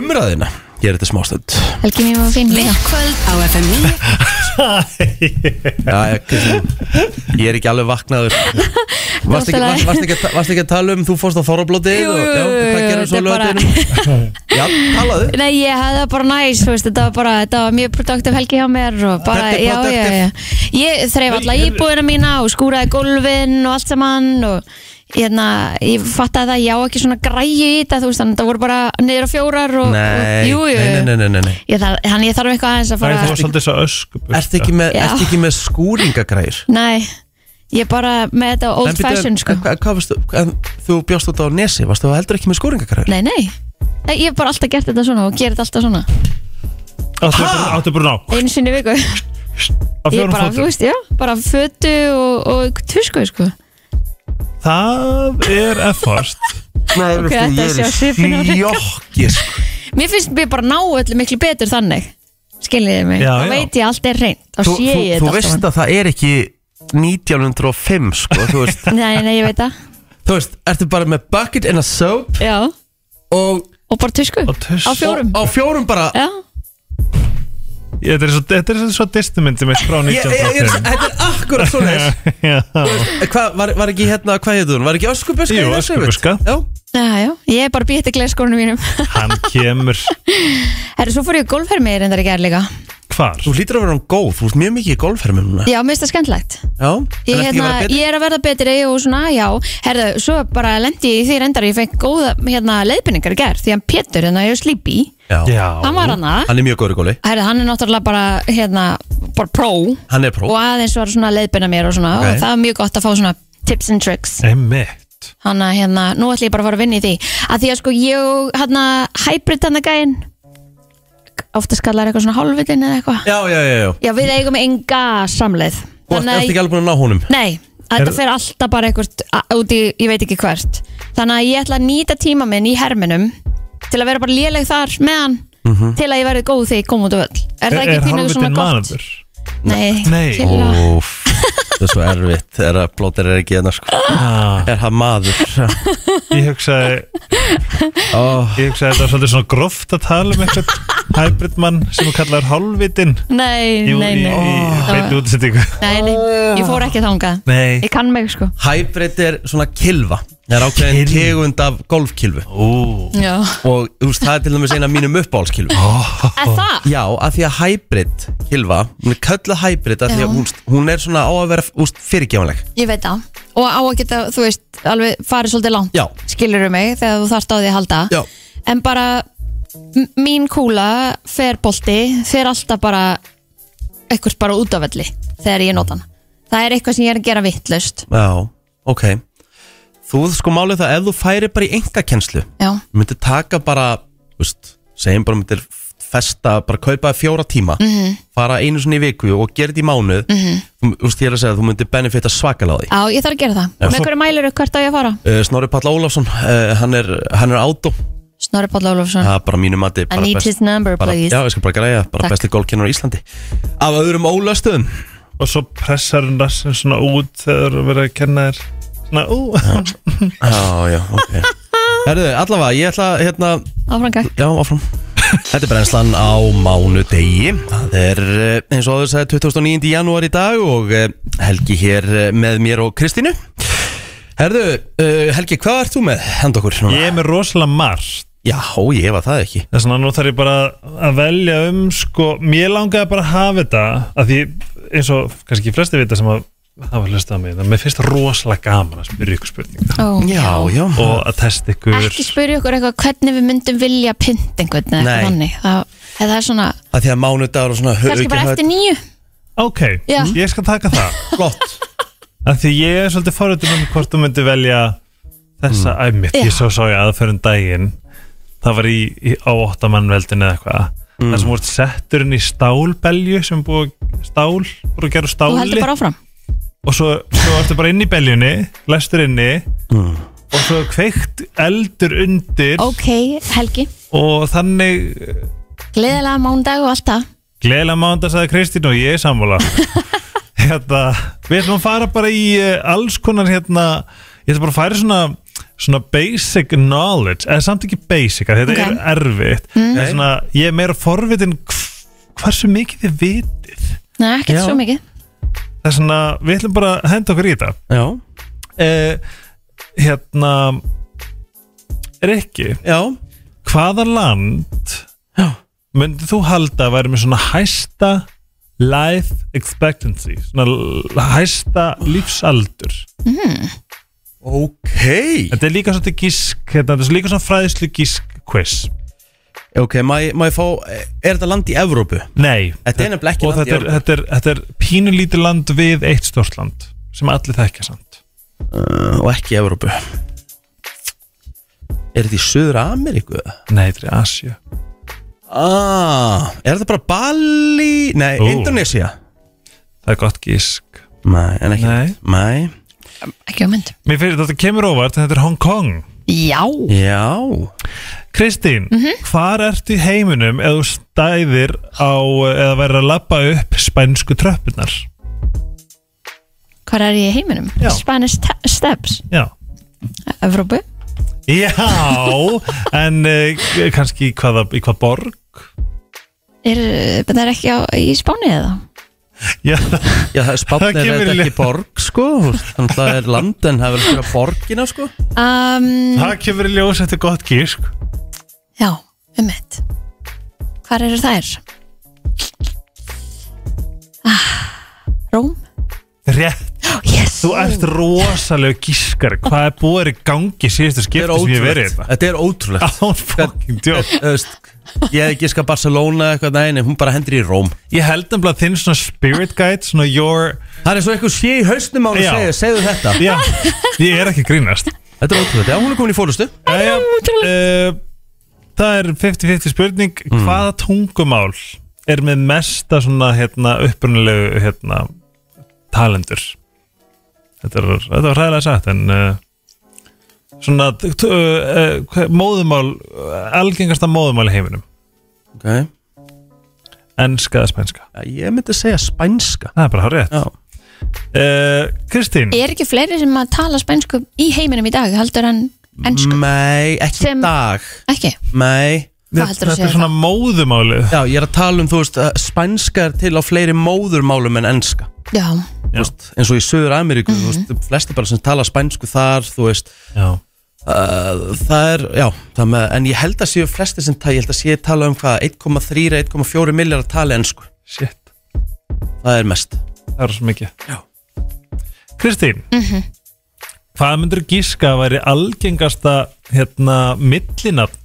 S1: umræðina Ég er þetta smástönd
S2: Helgi mér var fín líka
S4: Kvöld á FM 9
S1: Já, ég, Kristín, ég er ekki alveg
S2: *laughs*
S1: vaknaður Varst ekki,
S2: Náttúrulega.
S1: varst, varst, ekki, að ta- varst ekki að tala um, þú fórst á Þorrablótið
S2: Jú,
S1: og
S2: jú,
S1: já, hvað
S2: jú,
S1: gerir
S2: þetta
S1: svo
S2: er bara-
S1: lögadinum Já, talaðu
S2: Nei, ég hafði það bara næs, þú veist, þetta var bara, þetta var mjög produktiv helgi hjá mér og
S1: Þetta
S2: bara,
S1: er
S2: já, já, já, Ég þreif alla íbúðina mína og skúraði gólfin og allt saman og hérna, ég fattaði það, ég á ekki svona græju í þetta, þú veist, þannig að það voru bara niður á fjórar og,
S1: Nei,
S2: og jú, jú,
S1: nei, nei, nei, nei, nei.
S2: Ég þarf, hann ég þarf eitthvað aðeins að
S3: það var
S2: fara
S3: svolítið svo öskubur
S1: Ertu ekki með,
S2: Já.
S1: ertu ekki með skúringagræður?
S2: Nei, ég er bara með þetta
S1: En
S2: old
S1: bíddu,
S2: fashion, sko
S1: en, hva- hvað varstu, en, Þú bjóst út á nesi, varstu þú heldur ekki með skúringagræður?
S2: Nei, nei, nei, ég hef bara alltaf gert þetta svona og gerir þetta alltaf svona
S3: áttu bara- áttu bara ná
S2: Einu sinni í viku
S1: Sko,
S2: Ég
S3: á fjórum
S2: bara, þú
S3: fótum
S2: veist, já, bara fötu og, og tusku, sko
S3: það er effort
S1: Nei,
S2: Ok, veistu, þetta ég er í sé á svipinn á Rikka.
S1: sjokki sko.
S2: Mér finnst mér bara ná öllu miklu betur þannig Skiljiði mig,
S3: Já,
S2: þá
S3: já.
S2: veit ég allt er reynd Þá
S1: Þú,
S2: sé
S1: þú,
S2: ég
S1: þú
S2: þetta
S1: veist
S2: saman
S1: að það er ekki 1905 sko, þú
S2: *laughs*
S1: veist,
S2: Nei, nei, ég veit það
S1: þú veist, ertu bara með bucket and a soap
S2: Já,
S1: og
S2: og bara tusku
S3: Og tusku.
S2: Á fjórum
S1: á fjórum bara
S2: Já,
S3: Ég- þetta er svo- þetta er svo distumyndi með frá
S1: Ég- ég- ég-
S3: 1905
S1: Þetta er akkurat svo *laughs* leis
S3: Já.
S1: var, var ekki hérna, hvað heitur hún? Var ekki öskubuska?
S3: Jú,
S1: í Nesinu?
S3: öskubuska.
S1: Já,
S2: já, já, ég er bara býtt í gleiskónum mínum
S3: hann kemur
S2: Herri, svo fór ég golfhermi reyndar í gær líka
S3: hvar?
S1: þú hlýtur að vera hann góð, þú veist mjög mikið í golfhermum núna
S2: Já, mér finnst það skemmtlegt
S1: Já,
S2: Ég,
S1: en ertu ekki að
S2: hérna,
S1: vera betri?
S2: ég er að verða betri og svona, já Herðu, svo bara lendi ég í því reyndar að Ég fekk góða hérna, leiðbynningar í gær Því hann Pétur, hérna, ég er slípi
S1: Já.
S3: Já.
S2: Hann var hann að
S1: Hann er mjög góður í góli
S2: Herðu, hann er náttúrulega bara, hérna, bara pró
S1: Hann er pró
S2: og aðeins var svona að leiðbyrna mér og svona
S1: Ok.
S2: og það var mjög gott að fá svona tips and tricks
S3: Einmitt
S2: hann að hérna, nú ætlum ég bara að fara að vinna í því að því að sko ég og hann að hybrid hann að gæinn ofta skallar eitthvað svona hálfvillin eða eitthvað
S1: Já, já, já, já
S2: já við eigum enga samleið
S1: Þú ert ert ekki alveg búin að ná honum
S2: nei, þetta
S3: Er-
S2: fer alltaf bara eitthvað út í, ég veit ekki hvert þannig að ég ætla að nýta tíma minn í herminum til að vera bara léleg þar með hann til að ég verði góð þegar ég kom út af öll er, það ekki þínu svona
S3: hálfvitinn
S2: gott?
S3: maður?
S2: Nei,
S3: Nei.
S2: chilla.
S1: Óf, það er svo erfitt Þegar að blóter er ekki hérna sko
S3: Ah,
S1: Er hann maður
S3: ég hugsaði
S1: oh.
S3: Ég hugsaði þetta var svolítið svona groft að tala um eitthvað hybrid mann sem þú kallar hálfvitinn
S2: nei,
S3: Jú,
S2: nei, nei.
S3: í, í
S2: Það var-
S3: beinni útsendingu
S2: Nei, nei, ég fór ekki þangað
S3: Nei
S2: Ég kann mig sko
S1: Hybrid er svona kilva Það er ákveðin
S3: Kylfa.
S1: tegund af golfkilfu
S3: Ú
S2: Já
S1: Og þú veist, það er til dæmis eina af mínum uppáhalskilfu
S2: Er það?
S1: Já, af því að hybrid kilva Hún er kölluð hybrid af því
S2: Já.
S1: að hún, hún er svona á að vera úst, fyrirgefanleg
S2: Ég veit það Og á að geta, þú veist, alveg farið svolítið langt
S1: Já.
S2: Skilurðu mig þegar þú þarft á því að halda
S1: Já.
S2: En bara m- mín kúla fer bolti fer alltaf bara eitthvað bara út af velli þegar ég nota hana það er eitthvað sem ég er að gera vittlust
S1: Já, ok Þú sko málið það, ef þú færi bara í engakenslu
S2: já,
S1: myndir taka bara þú veist, segjum bara myndir festa, bara kaupa fjóra tíma -hmm. fara einu svona í viku og gera þetta í mánuð mm -hmm. þú veist, ég er að segja að þú myndir benefita svakalega á því
S2: á, ég þarf að gera það með hverju mælur hvert á ég að fara?
S1: uh, Snorri Páll Ólafsson, uh, hann er hann er átó,
S2: Snorri Páll Ólafsson
S1: það er bara mínu mati bara
S2: need his number,
S1: bara,
S2: please.
S1: Já, ég skal bara græja, bara
S2: Takk.
S1: besti gólkennur á Íslandi Af öðrum ólastöðum
S3: og svo pressar hún rassin svona út þegar þú verður að kenna þér svona ú
S1: Já, já, *laughs* ok Herðu, allavega, ég ætla, hérna,
S2: áfram gang
S1: Já, áfram Þetta er brennslan á mánudegi Það er eh, eins og áður sagði 2009. janúar í dag og eh, Helgi hér eh, með mér og Kristínu Herðu, eh, Helgi, hvað ert þú með? Hend okkur núna.
S3: ég er með rosalega margt
S1: Já, ég var það ekki
S3: þess vegna nú þarf ég bara að velja um sko, mér langaði bara að hafa þetta að því eins og kannski flesti vita sem að hafa hlustað á mig það mér finnst rosalega gaman að spyrja ykkur spurninga
S2: Ó,
S1: Já, já
S3: og að testa ykkur
S2: ekki spyrja okkur eitthvað hvernig við myndum vilja pynt einhvern eða
S1: Nei.
S2: eitthvað þannig það, það er svona,
S1: Að því að mánudagur og svona
S2: kannski bara eftir nýju
S3: ok,
S2: Já.
S3: ég skal taka það
S1: Flott
S3: að því ég er svolítið forröndum um hvort þú myndi velja þessa mm. æmið,
S2: Já.
S3: ég svo sá ég aðferðum daginn það var í, í á óttamannveldin eða eitthvað mm. það sem voru setturinn í stálbelju sem búið að- stál, voru að gera úr
S2: þú
S3: stáli
S2: heldur bara áfram
S3: og svo, svo ertu bara inn í beljunni lestur inni og svo er kveikt eldur undir
S2: ok, Helgi,
S3: og þannig
S2: gleðilega mándag og allt það
S3: gleðilega mánda sagði Kristín og ég er sammála hérna, við ætlum að fara bara í eh, alls konar hérna ég ætlum bara að færa svona svona basic knowledge, eða samt ekki basic að þetta
S2: Ok.
S3: er erfitt mm. svona, ég er meira forvitin hv- hversu mikið þið vitið
S2: Nei, ekkert
S1: Já.
S2: svo mikið
S3: það er svona, við ætlum bara að henda okkur í þetta
S1: Já,
S3: uh, hérna Rikki
S1: já
S3: hvaða land
S1: Já.
S3: myndið þú halda að væri með svona hæsta life expectancy svona l- hæsta lífsaldur
S1: Ok
S3: þetta er líka svona gísk hérna, þetta er líka svona fræðislu gísk quiz
S1: Ok, má ég má ég fá Er þetta land í Evrópu?
S3: nei
S1: Þetta er nefnilega ekki
S3: og
S1: land í
S3: þetta er,
S1: Evrópu
S3: þetta er, þetta er pínulítið land við eitt stórt land sem allir þekkja samt
S1: Uh, Og ekki í Evrópu Er þetta í Suður Ameríku?
S3: nei, þetta er Asja
S1: Ah, er þetta bara Bali? Nei,
S3: Ó.
S1: Indonesia
S3: það er gott gísk
S1: Nei, en ekki
S3: Nei.
S1: Nei.
S2: ekki á mynd
S3: mér fyrir þetta kemur óvart en þetta er Hong Kong
S2: já,
S1: Já
S3: Kristín, hvar ertu í heiminum ef þú stæðir á eða verður að labba upp spænsku tröppunar?
S2: hvað er ég í heiminum?
S3: Já.
S2: Spanish te- Steps,
S3: Já.
S2: Evrópu
S3: Já, en uh, kannski í hvaða, í hvað borg?
S2: er, eh, það er ekki á, í Spáni eða?
S3: Já,
S1: Já, það er
S3: Það
S1: spátn er
S3: kemur
S1: þetta
S3: í ljós.
S1: ekki borg, sko Þannig að það er land en það er verið að spila borgina, sko
S2: Um,
S3: það kemur í ljós eftir gott gísk.
S2: já, um mitt hvað eru þær? Ah, Róm
S3: Rétt,
S2: oh, yes.
S3: þú ert rosalega gískar. Hvað er búið er í gangi síðustu
S1: Þetta er
S3: skipti sem ég hef verið
S1: ótrúlegt
S3: þetta?
S1: Þetta er ótrúlegt
S3: Án fucking djók.
S1: Þú veist, Ég hef ekki skað Barcelona eitthvað Nei, nei, hún bara hendur í Róm
S3: Ég held nefnilega að þinn svona spirit guide, svona your...
S1: Það er svo eitthvað sé í hausnum á hún
S3: Já.
S1: að segja Segðu þetta
S3: Já, ég er ekki að grínast.
S1: Þetta er ótrúlegt Já, hún er komin í fórustu
S3: Jæja, uh, það er 50-50 spurning Hvaða tungumál er með mesta svona hérna, upprunalegu hérna, talendur? Þetta var, þetta var ræðilega sagt en uh, svona t- t- uh, uh, móðumál uh, algengasta móðumál í heiminum
S1: Ok Já,
S3: enska eða spænska
S1: Ég myndi segja spænska
S3: Það er bara hár rétt
S1: Já
S3: uh, Kristín,
S2: er ekki fleiri sem að tala spænsku í heiminum í dag heldur en ennsku?
S1: Nei, ekki
S2: Sem-
S1: Sem... dag
S3: Mm.
S2: ekki,
S1: Nei
S2: hvað heldur
S3: þetta,
S2: að
S3: þetta er
S2: segja það?
S3: svona móðumáli
S1: Já, ég er að tala um, þú veist, að spænska er til á fleiri móðurmálum en enska
S2: Já,
S1: Þú veist, eins og í Suður Ameríku, þú
S2: Mhm.
S1: veist, flesti bara sem tala spænsku þar, þú veist
S3: Já,
S1: uh, það er, já, það með, en ég held að séu flesti sem tala, ég held að séu tala um hvað 1,3, 1,4 miljar að tala ensku
S3: shit,
S1: það er mest
S3: það er svo mikið
S1: Já.
S3: Kristín Hvað myndur gíska að væri algengasta hérna, millinafn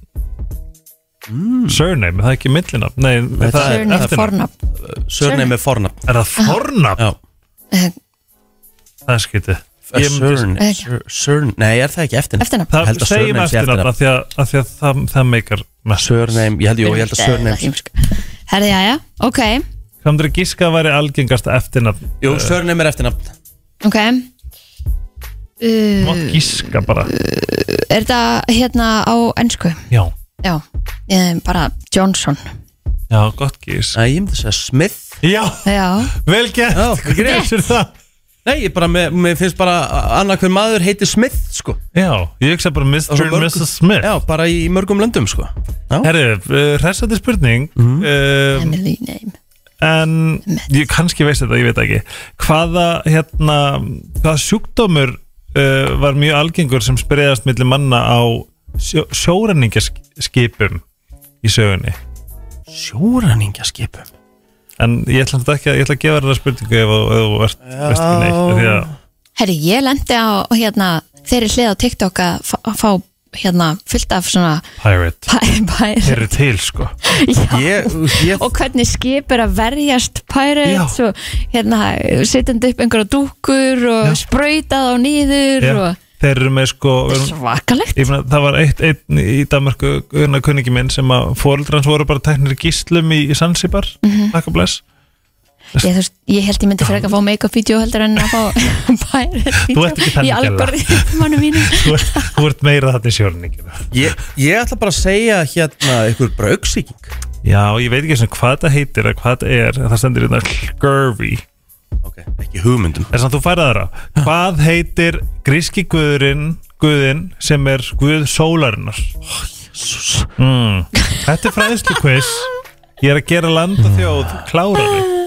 S3: Surname, það er ekki millinafn Nei,
S1: Mm. Nei,
S3: það er
S2: Surname,
S3: eftirnafn
S2: fornafn
S1: Surname er fornafn
S3: Er það fornafn?
S1: Já
S2: Eh,
S3: Það er skytið
S1: Ég
S3: Ég-
S1: Surname
S2: Eh,
S1: sur, sur, Nei, er það ekki eftirnafn?
S2: Eftirnafn.
S1: Ég held
S3: Það
S1: að
S3: segjum
S1: surname sé
S3: eftirnafn
S1: eftirnafn
S3: af því að, af því að það, það meikar mest
S1: Surname, ég held, jú, ég held að surname
S2: eh, Herði, já, já, ok
S3: Hvað myndir að gíska að væri algengast eftirnafn? Eh,
S1: Jú, surname er eftirnafn
S2: Ok
S3: Má
S2: uh,
S3: gíska bara
S2: Er þetta hérna á ennsku?
S3: Já,
S2: Já, ég, bara Johnson
S3: já, gott gís
S1: Æ, ég myndi að segja Smith
S3: Já,
S2: Já,
S3: vel gert
S1: Já, greit.
S3: Hvernig er það?
S1: Nei, ég bara, mér, mér finnst bara annað hver maður heitir Smith, sko
S3: Já, ég hugsa bara Mr.
S1: Og svo
S3: and
S1: mörg-
S3: Mrs. Smith
S1: Já, bara í mörgum löndum, sko Já,
S3: Herru, uh, hressandi spurning mm
S2: Emily name
S3: En ég kannski veist þetta, ég veit ekki Hvaða, hérna, hvaða sjúkdómur uh, var mjög algengur sem spreyðast milli manna á sjó, sjórenningaskipum í sögunni
S1: sjóræningjaskipum
S3: En ég ætla samt ekki að, ég ætla að gefa þér það spurningu ef þú ef þú ert veist ekki neitt af Því að
S2: Herri, ég lendi á hérna, þeirri hlið á TikTok að fá, fá hérna, fullt af svona
S3: pirate
S2: pæ-
S3: Þeir
S2: pæ-
S3: eru til, sko
S2: Já.
S1: Ég, ég,
S2: og hvernig skip er að verjast pirates og hérna, sittandi upp einhverja dúkur og
S3: Já.
S2: sprautað á nýður
S3: Já.
S2: og
S3: Þeir eru með, sko
S2: þetta er
S3: erum,
S2: svakalegt
S3: Ég meina, það var eitt, einn í Danmarku unna kunningi minn sem að fóreldrar hans voru bara teknir í gíslum í, í Sansibar mm -hmm. Takk og bless
S2: ég, þú veist, ég held ég myndi frekar að fá make-up-vídeó heldur en að fá *laughs* pirates-vídeó
S3: Þú ert ekki þannig
S2: í
S3: gæla.
S2: algoritmanum *laughs* mínum
S3: *laughs* Þú ert, þú ert meira þarna í sjórningina
S1: ég, ég ætla bara að segja hérna ykkur brauksíking
S3: Já, ég veit ekki svona hvað þetta heitir eða hvað þetta er, en það stendur hérna scurvy,
S1: Ok, ekki hugmyndum
S3: en samt þú færið aðra Hvað heitir gríski guðurinn guðinn sem er guð sólarinnar? Mm. Þetta er fræðslu quiz Ég er að gera land og þjóð klárari *gasps*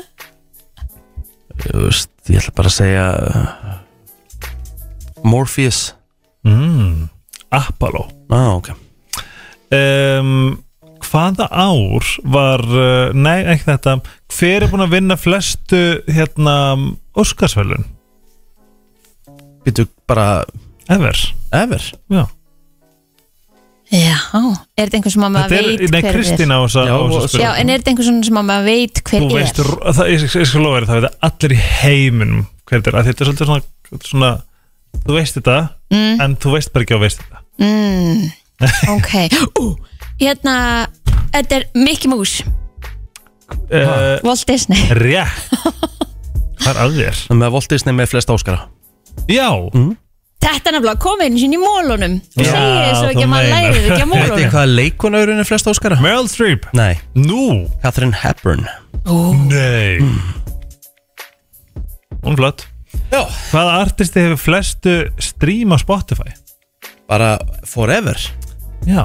S1: Ég, veist, ég ætla bara að segja uh, Morpheus
S3: mm. Apollo
S1: Á, ok
S3: um, Hvaða ár var uh, Nei, ekki þetta Hver er búin að vinna flestu hérna, Óskarsverlun?
S1: Býtu bara
S3: Ever
S1: ever
S3: Já
S2: já, er þetta einhver sem að maður
S3: Þetta er,
S2: veit
S3: nei,
S2: hver
S3: Kristín
S2: er
S3: á þessa
S1: Já,
S3: á
S1: og-
S3: þessa spurningu.
S2: já, en er þetta einhver svona sem að maður veit hver
S3: Þú
S2: er
S3: veist, ro- það, ég, ég skal lofa þér, það veit allir í heiminum hver þetta er, að þetta er svolítið svona, svona þú veist þetta,
S2: Mm.
S3: en þú veist bara ekki að þú veist þetta.
S2: Mm,
S3: *laughs*
S2: ok Ú, Hérna Þetta er Mickey Mouse,
S3: Uh,
S2: Walt Disney *laughs*
S3: rétt. Hvað er að þér?
S1: Með Walt Disney með flest áskara
S3: Já,
S1: Mm.
S2: Þetta er nefnilega komið einu sinni í mólunum Þú
S3: Já,
S2: segir þessu
S3: þú
S2: ekki að maður
S3: meinar.
S2: lærir
S3: *laughs*
S2: ekki að
S1: Veit
S2: mólunum
S1: þið hvað leikonaurin er flest áskara?
S3: Meryl Streep.
S1: Nei,
S3: Nú,
S1: Catherine Hepburn
S2: Ú,
S3: nei. Hún er flott.
S1: Já
S3: Hvaða artisti hefur flestu stream á Spotify?
S1: Bara forever
S3: Já,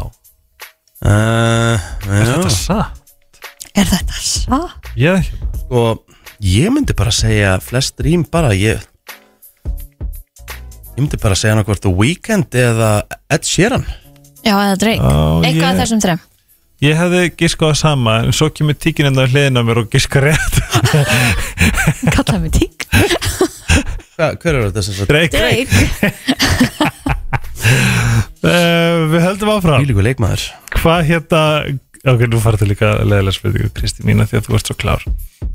S1: uh,
S3: er þetta satt?
S2: Er þetta sá?
S3: Ég er ekki.
S1: Sko, ég myndi bara segja flest rým bara ég ég myndi bara segja hann hvort The Weeknd eða Ed Sheeran
S2: Já, eða Drake
S3: Ó,
S2: Eitthvað
S3: ég-
S2: af þessum þrem
S3: Ég hefði giskað það sama, en svo kemur tíkinn enn á hliðina á mér og giskað rétt. *laughs*
S2: Kallaði mig tík
S1: Hva, Hver er þetta sem sagt?
S3: Drake.
S2: Drake
S3: Uh, við höldum áfram.
S1: Ílíku leikmaður
S3: hvað hérna ok, nú farið til líka leðilega spurningu Kristi mína því að þú ert svo klár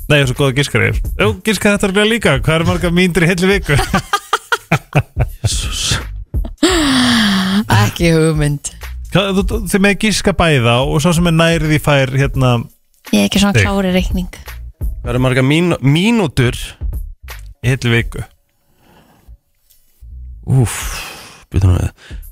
S3: nei, ég er svo góð að giska þér jú, giska þetta er líka, hvað er marga mínir í heilli viku *laughs*
S2: Ekki hugmynd
S3: Hvað- þú- þú- þið með giska bæða og svo sem er nærið í fær hérna,
S2: Ég er ekki svona
S3: Drake.
S2: klári reikning
S1: Hvað eru marga mín, mínútur?
S3: í heilli viku
S1: Úff, býtum við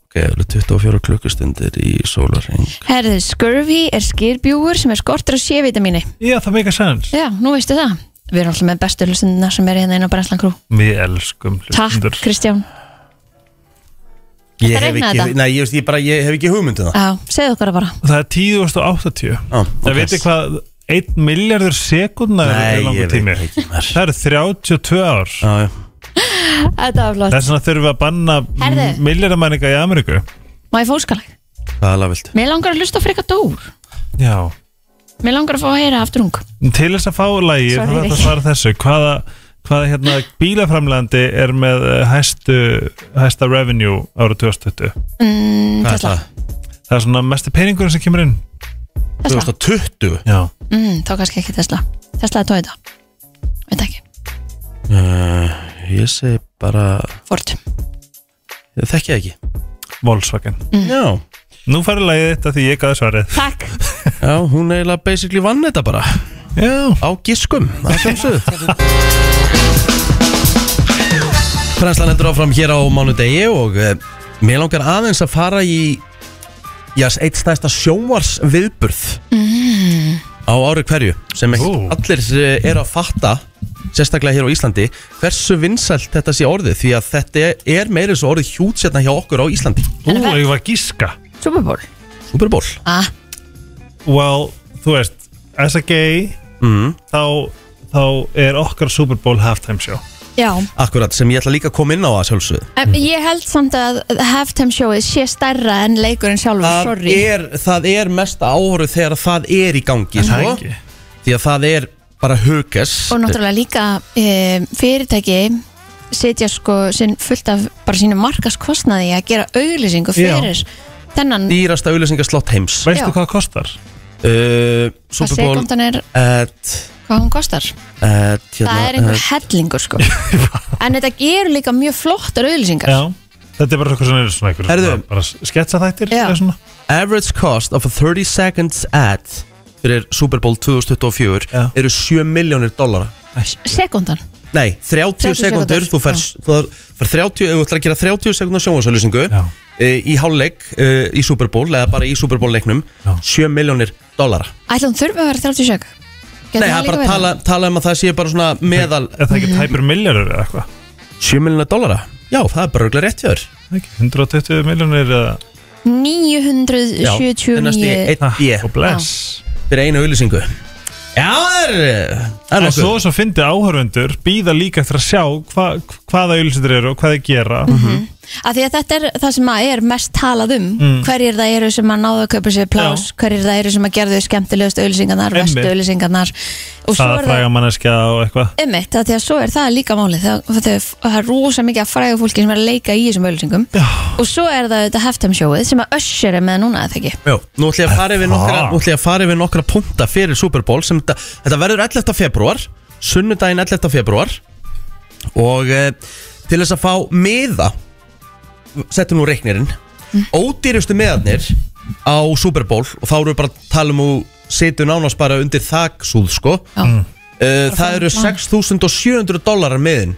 S1: Ok, það eru 24 klukkustundir í sólarring
S2: Herðu, Scurvy er skirbjúur sem er skortur á C-vitamíni
S3: já, það meika sens
S2: Já, nú veistu það Við erum alltaf með bestu hlustundina sem er hérna inn á Brenslan Crew
S3: við elskum
S2: Takk,
S3: hlustendur.
S2: Kristján
S1: Ég
S2: Þetta
S1: hef
S2: reiknaði
S1: ekki,
S2: þetta. Ah.
S1: nei, ég, veist, ég, bara, ég hef ekki hugmyndið það
S2: Já, segðu okkar það bara
S3: það er 10.080
S1: ah,
S3: það veitir hvað 1 miljardur sekundar er
S1: Nei,
S3: langur
S1: ég
S3: tími
S1: veit ekki maður
S3: það eru 32 ár
S1: Já, já.
S2: Þetta var flott
S3: þess vegna þurfum við að banna
S2: Herðu.
S3: miljardamæninga í Ameríku
S2: Má ég fóskalag?
S1: Hvað alveg viltu?
S2: Mér langar að hlusta á frekar dór
S3: já
S2: Mér langar að fá að heyra aftur ung
S3: Til þess að fá lægi
S2: Sorry,
S3: þá er þetta að
S2: Rikki.
S3: svara þessu hvaða, hvaða hérna, bílaframlandi er með eh, hæstu, hæsta revenue ára 2020
S2: mm,
S1: Hvað er
S2: Tesla.
S1: það?
S3: Það er svona mestu peningurinn sem kemur inn
S2: Tesla.
S1: 2020
S3: já,
S2: mm, Þá kannski ekki Tesla Tesla er Toyota Veit ekki
S1: Eh, Ég segi bara,
S2: Ford
S1: ég þekki það ekki
S3: Volkswagen
S1: Já,
S3: Nú færðu lagið þetta því ég gaði svarið
S2: Takk
S1: já, hún eiginlega basically vann þetta bara
S3: Já,
S1: Á giskum, það sjálfsögðu Franslan heldur áfram hér á mánudegi og eh, mér langar aðeins að fara í já, eitt stæðsta sjónvars viðburð á ári hverju sem ekki
S3: Ú.
S1: allir eh, eru að fatta sérstaklega hér á Íslandi hversu vinsælt þetta sé orðið því að þetta er meira svo orðið hjút sérna hjá okkur á Íslandi
S3: ú,
S2: En það-
S3: ég var að gíska
S2: Super Bowl
S1: Super Bowl
S2: ah,
S3: Well, þú veist, as a gay
S1: mm.
S3: þá, þá er okkar Super Bowl halftime show
S2: Já
S1: Akkurat sem ég ætla líka að koma inn á að sjálfsögðu
S2: en, Ég held samt að halftime showið sé stærra en leikurinn sjálfur
S1: það
S2: Sorry
S1: er, það er mesta áhorið þegar það er í gangi
S3: Er það
S1: sko?
S3: ekki?
S1: Því að það er bara hugas
S2: Og náttúrulega líka e, fyrirtæki setja sko sinn fullt af bara sínum markaskostnaði að gera auglýsingu fyrir þennan
S1: Dýrasta auðlýsingaslott heims uh,
S2: Já.
S3: Veistu hvað það kostar?
S2: hvað
S1: Super Bowl
S2: sekundan er,
S1: at,
S2: hvað hún kostar
S1: at, hérna,
S2: það er einhver
S1: *laughs*
S2: hellingur sko en þetta eru líka mjög flottar auglýsingar
S3: Já Þetta er bara eitthvað svona, svona einhver,
S1: Herðu.
S3: bara- bara sketsa þættir
S2: Já.
S1: at uh, Average cost of a 30 seconds ad fyrir Super Bowl 2024
S3: Já.
S1: eru 7 miljónir dollara
S2: sekundan
S1: Nei, 30, sekundur,
S2: 30 sekúndur,
S1: þú fær, þú fær 30, ef þú ætlar að gera 30 sekundar sjónvarsauðlýsingu
S3: Já.
S1: í hálfleik uh, í Super Bowl eða bara í Super Bowl leiknum
S3: Já.
S1: 7 miljónir dollara
S2: ætlum þurfum að vera 30 sök
S1: Nei, það er bara að tala, tala um að það sé bara svona meðal
S3: Er það
S2: Mhm.
S3: ekki tæpur miljardur eða eitthvað?
S1: 7 miljónir dollara? Já, það er bara auðvitað rétt hjá þér
S3: Það er ekki 120 miljónir eða
S1: Já, það er næstu
S2: 979
S1: 1 B
S3: og bless
S1: fyrir einu auðlýsingu Já, það er eh, Það er
S3: En
S1: nokkuð
S3: svo sem fyndi áhörfundur býða líka eftir að sjá hva, hvaða ylsendur eru og hvað þið gera
S2: Mhm.
S1: Mhm.
S2: af því að þetta er það sem að er mest talað um
S3: Mm.
S2: hverjir það eru sem að náðu að kaupa sér plás hverjir það eru sem að gerðu skemmtilegust auðlýsingarnar,
S3: Einmitt.
S2: vestu auðlýsingarnar og svo
S3: það
S2: er
S3: fræga
S2: það
S3: manneskja og eitthvað
S2: Einmitt, af því að svo er það líka málið það, það, það er rosa mikið að fræga fólki sem er að leika í þessum auðlýsingum og svo er það þetta halftime showið sem að össur er með núna eða ekki
S1: Jó, nú ætlum ég að fara yfir nokkra,
S3: Það.
S1: nú ætla ég að fara yfir nokkra punta fyrir Super Bowl sem þetta, þetta verður 11. februar sunnudaginn 11. februar og eh, til þess að fá miða settum nú reiknirinn ódýrustu miðarnir á Super Bowl og þá eru við bara að tala um og setju nánast bara undir þaksúð sko
S2: Já.
S3: Mm.
S1: Eh, það eru 6.700 dólarar miðin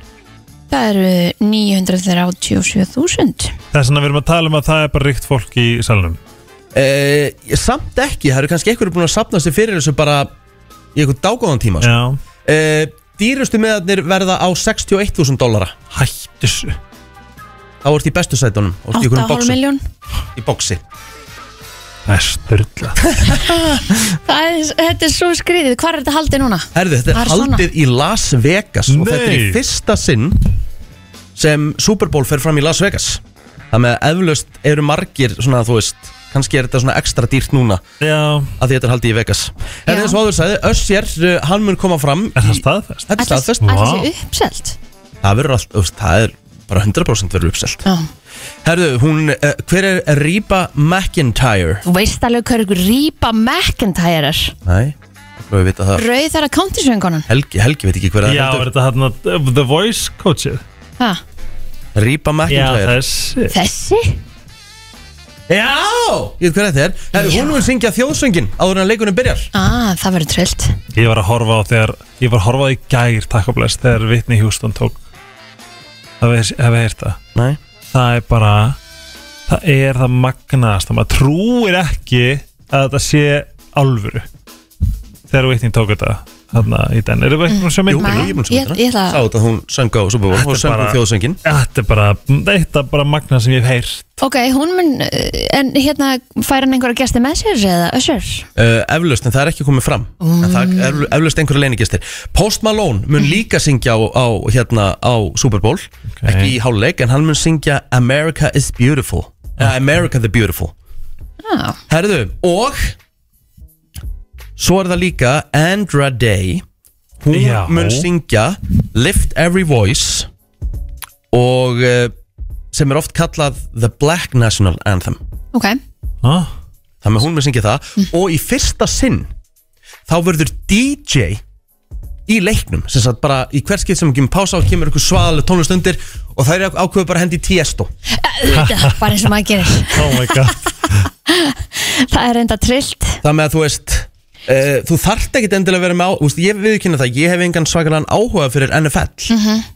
S2: það eru 937.000
S3: Þess vegna við erum að tala um að það er bara ríkt fólk í salunum
S1: eh, samt ekki, það eru kannski einhverju búin að sapna sér fyrir þessu bara í einhvern dágóðan tíma sko.
S3: Já,
S1: uh, Dýrustu miðarnir verða á 61.000 dólara
S3: hættis
S1: Það voru í bestu sætunum og í einhverjum
S2: 8,5
S1: bóksi,
S2: miljón
S1: í bóksi.
S3: Það er styrla
S2: Það er- Þetta er svo skriðið, hvað er þetta haldið núna?
S1: Herðu, þetta
S2: Það
S1: er
S2: er svona.
S1: haldið í Las Vegas og þetta er í
S3: Nei.
S1: fyrsta sinn sem Super Bowl fer fram í Las Vegas Það með að eflaust eru margir svona þú veist, kannski er þetta svona ekstra dýrt núna
S3: Já,
S1: að því þetta er haldið í Vegas En
S2: Já.
S1: eins og áður sagði, Össjar, uh, hann mun koma fram
S3: er það
S1: í-
S3: staðfest?
S1: Þetta er staðfest
S2: Þetta
S3: Vá.
S2: sé uppselt
S1: Það verður allt, þú veist, það er bara 100% verður uppselt
S2: Já.
S1: Herðu, hún, uh, hver er Reba McIntyre?
S2: Þú veist alveg hver ykkur Rýpa McIntyre er
S1: Nei, þú veit að það
S2: Rauð þar að countrysöngunum
S1: Helgi, Helgi veit ekki hver það
S3: Já, er þetta hann að The Voice coachið?
S1: Rýpa
S3: Já, það
S1: McIntyre
S3: er sick.
S2: Þessi?
S1: Já, ég veit hver þetta er Herri, Hún mun syngja þjóðsöngin áður en leikunum byrjar
S2: Ah, það verður trillt
S3: Ég var að horfa á þegar Ég var að horfa á í gær, takk og bless Þegar Whitney Houston tók Það hefði heyrt það
S1: Nei
S3: það er bara það er það magnaðast maður trúir ekki að þetta sé alvöru þegar Whitney tók þetta þarna í den er það ekki búin að sjá
S1: Jú,
S3: myndina?
S2: Ma-
S1: ég mun
S2: ég-
S1: syngja
S2: ég ætla að-
S1: Sá þetta að hún söng á Super Bowl
S3: Þetta
S1: Hún
S3: er
S1: söng um
S3: bara-
S1: bara... þjóðsöngin
S3: þetta er bara þetta er bara magnað sem ég hef heyrt
S2: Ok, hún mun, eh, en hérna fær hann einhverja gesti með sér eða össur?
S1: uh, Eflaust, en það er ekki komið fram En það
S2: Mm.
S1: er eflu- eflaust einhverja leinigistir Post Malone mun líka syngja á, á, hérna, á Super Bowl Ekki í háluleik, en hann mun syngja America is beautiful uh, America the beautiful
S2: Já,
S1: Herðu, og Svo er það líka Andra Day Hún
S3: Já.
S1: mun syngja Lift Every Voice Og eh, Sem er oft kallað The Black National Anthem
S2: ok
S3: ah,
S1: Það með hún með syngja það Og í fyrsta sinn Þá verður DJ í leiknum sem sagt bara í hverskið sem kemur pása og kemur ykkur svaðalega tónlist undir og þær ákveður bara að hendi tiesto
S2: Auðvitað, bara eins og maður gerir
S3: oh my god
S2: *laughs* það er enda trillt
S1: Það með að þú veist uh, Þú þarft ekkit endilega að vera með á úst, Ég viðkynna það, ég hef engan svakalega áhuga fyrir NFL
S2: Mhm.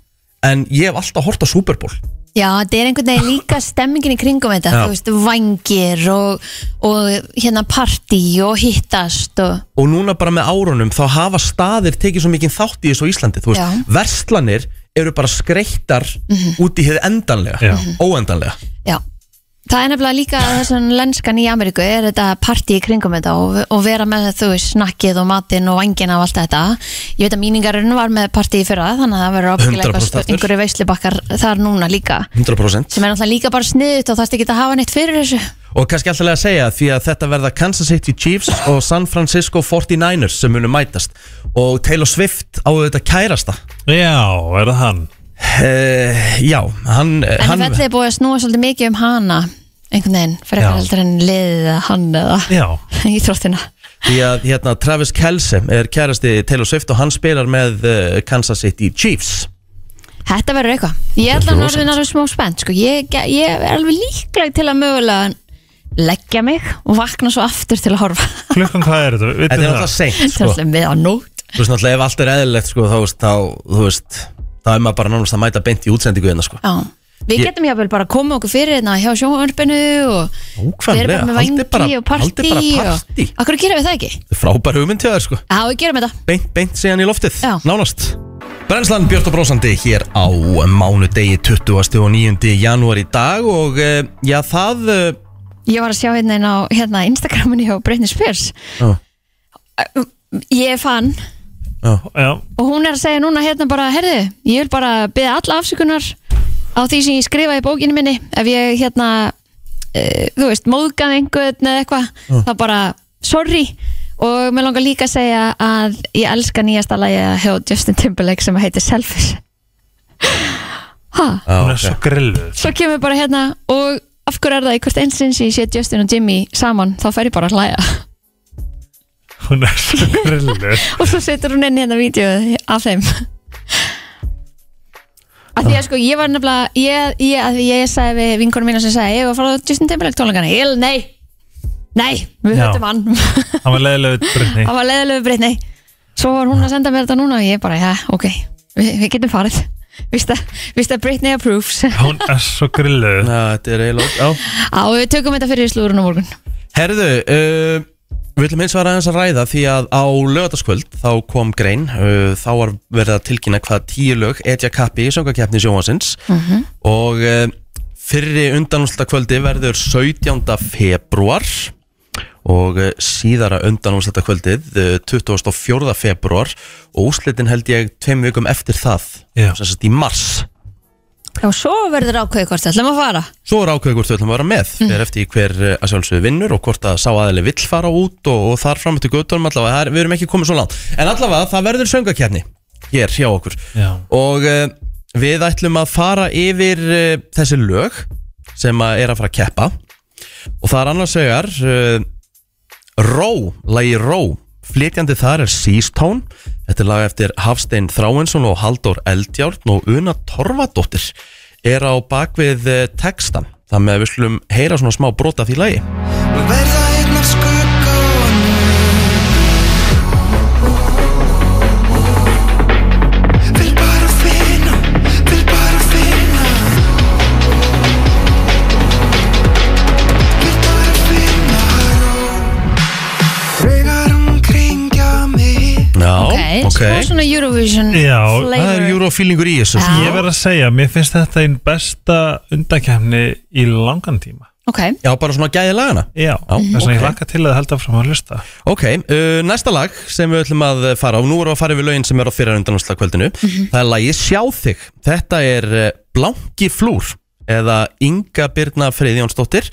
S1: En ég hef alltaf hort á Super Bowl
S2: Já, þetta er einhvern veginn líka stemmingin í kringum þetta,
S1: Já.
S2: þú veist, vangir og, og hérna partí og hittast og
S1: Og núna bara með árunum þá hafa staðir tekið svo mikið þátt í þessu á Íslandi Þú veist,
S2: Já. Mhm.
S1: verslanir eru bara skreittar út í hér endanlega
S3: Já.
S1: Óendanlega
S2: já, það er nefnilega líka þessan lenskan í Ameríku er þetta partí í kringum þetta og, og vera með þú veist, snakkið og matinn og vangina og allt þetta, ég veit að míningarinn var með partí í fyrra, þannig að það verður
S1: 100%
S2: ábyggilega eitthvað-
S1: aftur.
S2: einhverju veislubakkar þar núna líka
S1: 100%
S2: sem er náttúrulega líka bara sniðut og þarfst ekki að hafa neitt fyrir þessu
S1: Og kannski alltaf að segja því að þetta verða Kansas City Chiefs og San Francisco 49ers sem munu mætast og Taylor Swift á þetta kærasta
S3: Já, er það hann
S1: uh, Já, hann,
S2: En
S1: hann
S2: fellið er búið að snúa svolítið mikið um hana einhvern veginn,
S1: Já.
S2: fyrir eitthvað heldur en liðið eða hann eða *laughs*
S3: Já,
S2: í þróttina
S1: Því að hérna, Travis Kelce er kærasti Taylor Swift og hann spilar með uh, Kansas City Chiefs
S2: Þetta verður eitthvað Ég ætla
S1: rosalegt.
S2: norðin alveg smá spennt sko. ég, ge- ég er alveg líkleg til að mögulega leggja mig og vakna svo aftur til að horfa *laughs*
S3: klukkan hvað er þetta?
S1: Þetta
S3: Vitið
S1: er
S3: þið það?
S1: alltaf seint
S2: Þetta er
S1: sko.
S2: alltaf með á nót
S1: Þú veist náttúrulega ef allt er eðlilegt sko, þá, veist, þá, þú veist, þá er maður bara nánast að mæta beint í útsendingu hérna sko.
S2: Já. Við
S1: Ég-
S2: getum jáfnvel bara að koma okkur fyrir hérna hjá sjónvarpinu og við erum bara með
S1: Haldið bara,
S2: vangi og
S1: haldið
S2: partí
S1: bara
S2: og...
S1: partí
S2: Akkur gerum við það ekki?
S1: Frábær hugmynd til þér sko
S2: Já, við gerum þetta
S1: beint, beint síðan í loftið,
S2: Já.
S1: nánast Brennslan Björn og Brósandi hér á mánudegi 29. janúar í dag og uh, já það uh,
S2: Ég var að sjá hérna inn á hérna, Instagraminu hjá Britney Spears Ég fann
S3: Já,
S2: og hún er að segja núna hérna bara herðu, ég vil bara beða alla afsökunar á því sem ég skrifa í bókinu minni ef ég hérna uh, þú veist, móðgað einhvern eða eitthvað þá bara, sorry og mér langar líka að segja að ég elska nýjasta lagi hjá Justin Timberlake sem heitir Selfish ha,
S3: hún er svo grilluð
S2: svo kemur bara hérna og af hverju er það í hvert einsinn sem ég sé Justin og Jimmy saman, þá fer ég bara að hlæja
S3: Hún er svo grilluð
S2: og svo setur hún inn hérna vídeo af þeim að því að sko ég var nefnilega ég, ég, að því ég sagði við vinkunum mína sem sagði ég var að fara á Justin Timberlake tónleikana ég, nei, nei, við
S3: Já.
S2: höfum hann hann
S3: Hann var leiðilega brunni
S2: var leiðilegu breytni svo var hún að senda mér þetta núna og ég bara, já, ok, við, við getum farið Vist að, víst að Britney approves
S3: Hún er svo grilluð
S1: þetta er eiginlega já.
S2: Á, við tökum þetta fyrir í slúrun á morgun
S1: Herðu, uh, við ætlum eins og aðeins að ræða því að á lögataskvöld þá kom grein, uh, þá var verið að tilkynna hvað tíu lög etja kappi í söngakeppni sjónvansins og uh, fyrri undanúslita kvöldi verður 17. februar og eh, síðara undanúslita kvöldið uh, 24. februar og úslitin held ég tveim vikum eftir það
S3: Já.
S1: sem sagt í mars
S2: Já, svo verður ákveðið hvort ætlum að fara
S1: Svo er ákveður hvort við ætlum að vera með fyrir eftir í hver eh, að sjálfsögðu vinnur og hvort að sá aðeili vill fara út og, og þar fram eftir göttunum allavega, það er, við erum ekki komið svo langt en allavega það verður söngakerni hér hjá okkur
S3: Já.
S1: og uh, við ætlum að fara yfir uh, þessi lög sem að er að fara að keppa og það er annars vegar uh, Ró, lagi Ró flytjandi þar er Seastone þetta er lag eftir Hafstein Þráinsson og Halldór Eldjárn og Una Torfadóttir er á bakvið eh, textan það með að við slum heyra svona smá brota því lagi
S4: Og verða einn af skuggunum Vil bara finna, vil bara finna Vil bara finna ró Þegar hún kringja mig
S1: Já,
S2: Ok, svo svona Eurovision
S3: Já,
S1: það er
S2: flavor
S1: júrófílingur í þessu
S2: Já.
S1: Já,
S3: Ég verð að segja, mér finnst þetta einn besta undakefni í langan tíma
S2: Ok,
S1: bara svona gæði lagana
S3: Já, þess vegna ég laka til að halda fram að hlusta
S1: Ok, uh, næsta lag sem við ætlum að eh, fara á Nú erum við að fara yfir lögin sem er á fyrir undanúslagkvöldinu Það er lagið Sjá þig Þetta er eh, Blanki Flúr Eða Inga Birna Freyðjónsdóttir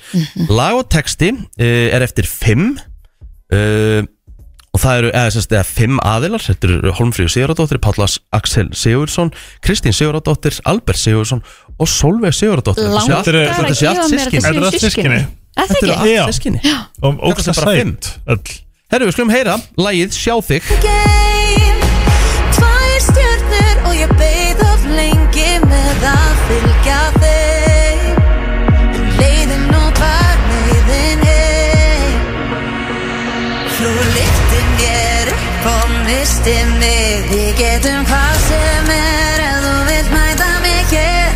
S1: Lag og texti uh, er eftir 5 uh, Og það eru eða, sérst, eða, fimm aðilar Þetta eru Holmfríður Sigurðardóttir, Pállas Axel Sigurðsson Kristín Sigurðardóttir, Albert Sigurðsson Og Sólveig Sigurðardóttir
S2: Langar
S1: Þetta séu allt-
S2: að
S1: þetta séu allt
S2: gefa mér
S1: systkini.
S2: þessi- systkini? Er það
S3: Er það sískinni?
S1: Þetta eru
S2: ekki?
S3: Já.
S1: allt skinni
S3: og
S1: Þetta
S3: ógsta
S1: er bara fimm.
S3: sætt öll
S1: Herru, við skulum heyra, lagið Sjá þig
S5: Game. Tvær stjörnur og ég beið of lengi með að fylgja þeim. Um Leiðin út var leiðin heim. Þú liftir mér upp og mistir mig. Við getum hvað sem er ef þú vilt mæta mig hér.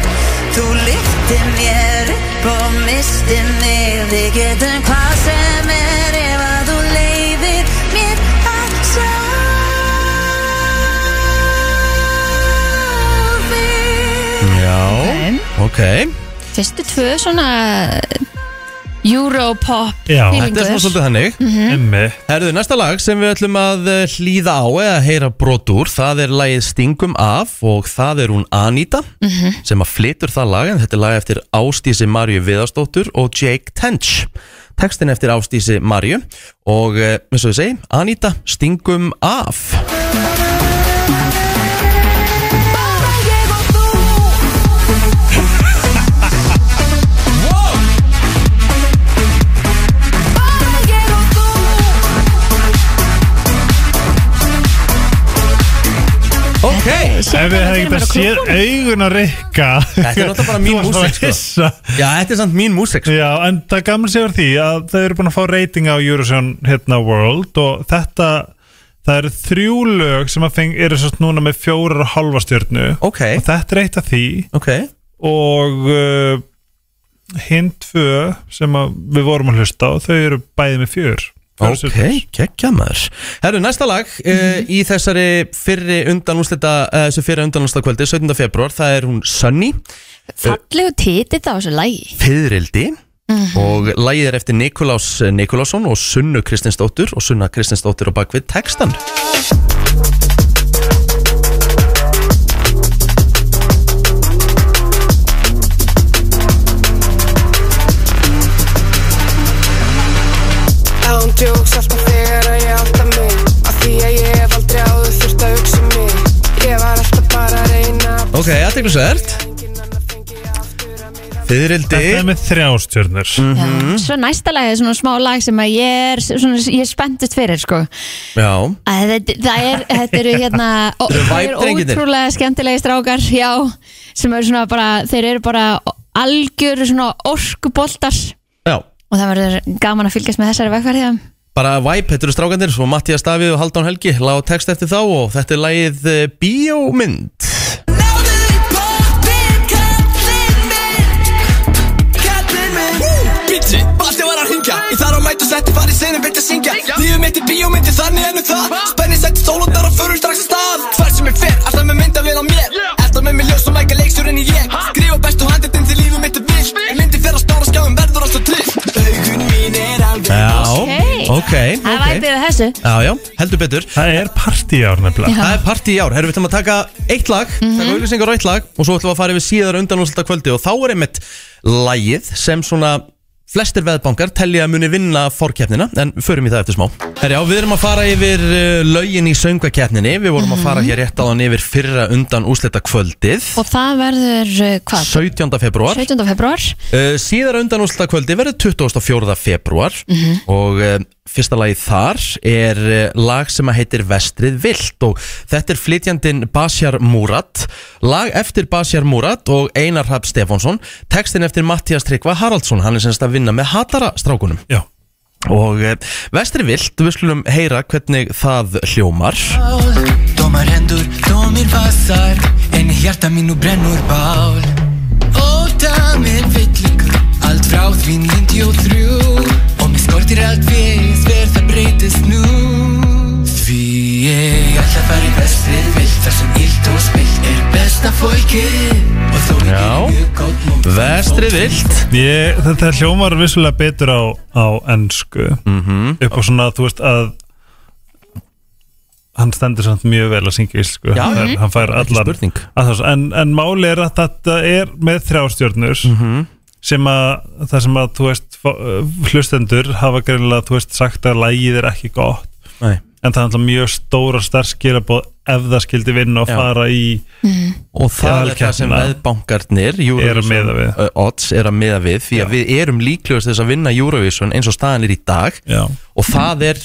S5: Þú liftir mér upp og mistir mig. Við getum hvað sem er ef að þú leiðir mér að sjá þig.
S1: Já, ok
S2: Fyrstu tvö svona uh, Europop
S3: Já.
S1: Þetta er svona
S2: feelingur
S1: svolítið hannig
S3: Mhm. emmi
S1: Herðu, næsta lag sem við ætlum að eh, hlýða á eða heyra brot úr, það er lagið Stingum af og það er hún Anita sem að flytur það lag en þetta er lag eftir Ástísi Marju Viðarsdóttur og Jake Tench textin eftir Ástísi Marju og eh, eins og ég segi, Anita Stingum af
S5: Bara ég og þú Bara ég og þú
S1: Ok,
S3: ef við hefði getað séð augun að rikka
S1: Þetta er náttúrulega bara mín músík, sko. já, þetta er samt mín músik sko.
S3: Já, en það gamla sér því að þau eru búin að fá reyting á Eurovision hérna World og þetta, það eru þrjú lög sem að feng, eru sérst núna með fjórar og halva stjörnu
S1: Ok,
S3: og þetta er eitt af því
S1: ok,
S3: og uh, hinn tvö sem að við vorum að hlusta á, þau eru bæði með fjör fjórar
S1: ok,
S3: stjörnur.
S1: kekkja maður Herru, næsta lag uh,
S2: Mhm.
S1: í þessari fyrri undanúslita uh, þessu fyrri undanúslita kvöldi, 17. februar það er hún Sunny
S2: Fallegu titill á þessu lægi
S1: Fyðrildi
S2: Mhm.
S1: og lagið er eftir Nikolás Nikolásson og Sunnu Kristinsdóttur og Sunna Kristinsdóttur og bakvið textan
S6: Án djóks alltaf þegar að ég átta mig Af því að ég hef aldrei áður þurft að hugsa um mig Ég var alltaf bara að reyna að
S1: Ok, aðteglisvert
S6: Enginn annar fengi aftur að mig
S3: Þetta er
S1: Fyðrildi
S3: með þrjá stjörnur
S2: Mhm.
S1: Mhm.
S2: Svo næsta lag er svona smá lag sem að ég er svona, ég er spenntist fyrir sko
S1: Já,
S2: að þetta, það er, þetta eru hérna ó-
S1: *laughs* Þetta eru
S2: það eru
S1: væpdrengirnir.
S2: ótrúlega skemmtilegi strákar já, sem eru svona bara þeir eru bara algjör svona orkuboltar
S1: já
S2: og það verður gaman að fylgjast með þessari vegferð hjá þeim.
S1: Bara Væp, þetta eru strákandir svo Mattias Davíð og Haldán Helgi lág text eftir þá og þetta er lagið eh, Bíómynd
S5: Náðu í bóttinn, kallinn minn Kallinn minn
S7: Bitchi, basti var að ringja Ég þarf að mæta og setti fari sinni byrja að syngja Lífið mitt í bíómyndi þannig ennum það Spenni setti sólundar og förum strax að stað Hver sem ég fer, alltaf með mynda vel á mér Alltaf með mér ljós og mæka leikstjórinn í ég Skrifa bestu handitinn til lífið mitt er vilt En myndi fer að stóra skjáum verður alltaf trist Augun mín er alveg
S1: Já,
S2: Ok.
S1: ok,
S2: það okay.
S1: ok
S2: væpið að þessu
S1: Já, já, heldur betur
S3: Það er partí ár nefnilega
S1: Það er partí í ár, herru, við ætlum að taka eitt lag
S2: Mhm.
S1: taka auðlýsingar og eitt lag og svo ætlum við að fara yfir síðar undanúslita kvöldi og þá er einmitt lagið sem svona flestir veðbankar telja að muni vinna fórkeppnina, en förum í það eftir smá Herjá, við erum að fara yfir uh, lögin í söngakeppninni, við
S2: Mhm.
S1: vorum að fara hér rétt áðan yfir fyrra undan úslita kvöldið
S2: og það verður uh, hvað?
S1: 17. februar
S2: 17. februar
S1: Uh, síðar undan úrslita kvöldi verður 24. februar og uh, fyrsta lagi þar er uh, lag sem að heitir Vestrið Vilt og þetta er flytjandin Basjar Múrat lag eftir Basjar Múrat og Einar Hab Stefánsson textin eftir Mattias Tryggva Haraldsson hann er semst að vinna með hatara strákunum
S3: Já,
S1: og uh, Vestrið Vilt, við skulum heyra hvernig það hljómar
S7: Tómar hendur, tómir vassar En í hjarta mínu brennur bál Óta minn fyllingur Allt frá því 93 Og mér skortir allt við Hver það breytist nú Því ég ætla að fara í vestrið vilt Þar sem illt og spilt er besta fólki Og þó við
S1: Já.
S7: erum mjög gótt mót
S1: Vestrið Vilt
S3: ég, þetta hljómar vissulega betur á, á ennsku
S1: Mhm.
S3: -hmm. upp á svona, þú veist að hann stendur samt mjög vel að syngja íslensku
S1: Já,
S3: hann, er- hann fær allar
S1: spurning.
S3: allar- en, en máli er að þetta er með þrjástjörnur
S1: Mhm.
S3: -hmm. sem að það sem eh, að þú veist fá- hlustendur hafa greinlega þú veist sagt að lægið er ekki gott
S1: Nei.
S3: en það er alltaf mjög stóra starfskilabóð ef það skildi vinna og
S1: Já.
S3: fara í
S1: Og það er það sem
S3: Alkeppna.
S1: veðbankarnir
S3: Eru að miða við.
S1: uh, Odds er að miða við Því að við erum líklegast þess að vinna Eurovision eins og staðan er í dag
S3: Já.
S1: Og það er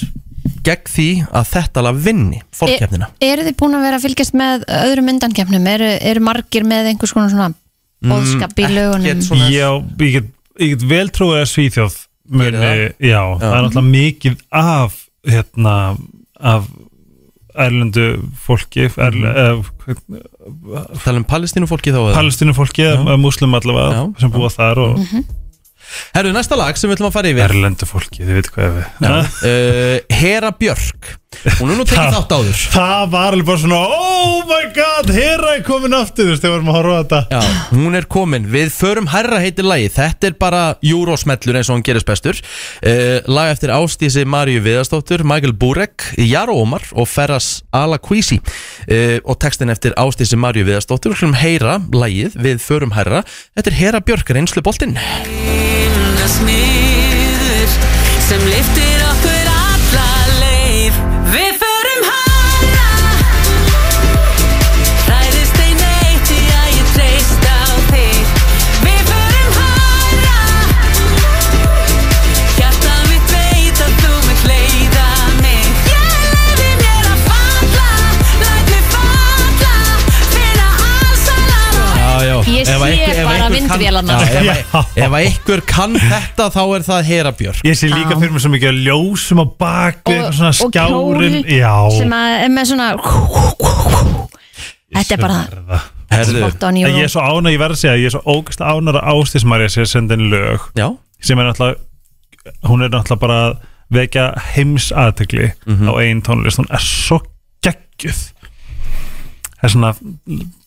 S1: gegn því að þetta alveg vinni Fólkjefnina
S2: E, Eru þið búin að vera að fylgjast með öðrum undankefnum? Eru, eru margir með einhvers konar svona
S1: Mm,
S2: bóðskap í lögunum?
S1: svona
S3: Já, ég get, ég get vel trúið að Svíþjóð muni,
S1: Gerir það?
S3: já, það er náttúrulega mikið af hérna, af erlendu fólki
S2: Mhm.
S3: erl, mm.
S1: Tala um palestínu fólki þá eða?
S3: palestínu fólki eða muslim allavega
S1: Já,
S3: sem búa þar og
S2: Mhm.
S1: Herru, næsta lag sem við ætlum að fara yfir
S3: erlendu fólki, þið veit hvað við ha?
S1: uh, Hera Björk Hún er
S3: *laughs*
S1: nú tekið
S3: Það-
S1: þátt áður
S3: það var alveg bara svona oh my god, herra er komin aftur þú veist, þegar við varum að horfa á þetta
S1: Já, hún er komin, við förum herra heitir lagi Þetta er bara júrósmellur eins og hún gerist bestur uh, Lag eftir Ástísi Maríu Viðarsdóttur, Michael Burek, Jaro Omar og Ferras Alakvísi uh, Og textin eftir Ástísi Maríu Viðarsdóttur Við skulum heyra lagið, við förum herra Þetta er Hera Björk, reynslu boltinn
S8: Himna smiður sem liftir okkur alla leið Við förum hana Ræðist ein eitt í að ég treyst á þig Við förum hana Hjarta mitt veit að þú mitt leiða mig Ég leiði mér að falla Læt mig falla Finna allsalan og
S1: Já, já
S2: Ég sé
S1: Ef að einhver- ef
S2: bara
S1: einhver kann-
S2: vindvélarnar.
S1: Já, Ef
S3: Já.
S1: að- ef að einhver kann þetta þá er það Hera Björk
S3: ég sé líka fyrir mig svo mikið að ljósum á bakvið, eitthvað svona
S2: og
S3: skjárin
S2: kjól sem að er með svona Þetta er bara
S1: Herðu,
S2: spott on
S3: En ég
S2: Euro
S3: er svo ána, ég verð að segja, ég er svo ógæslega ánar að Ástis Marja sé að senda inn lög
S1: já,
S3: sem er náttúrulega, hún er náttúrulega bara að vekja heimsaðtegli
S1: Mhm.
S3: á einn tónlist, hún er svo geggjuð það er svona,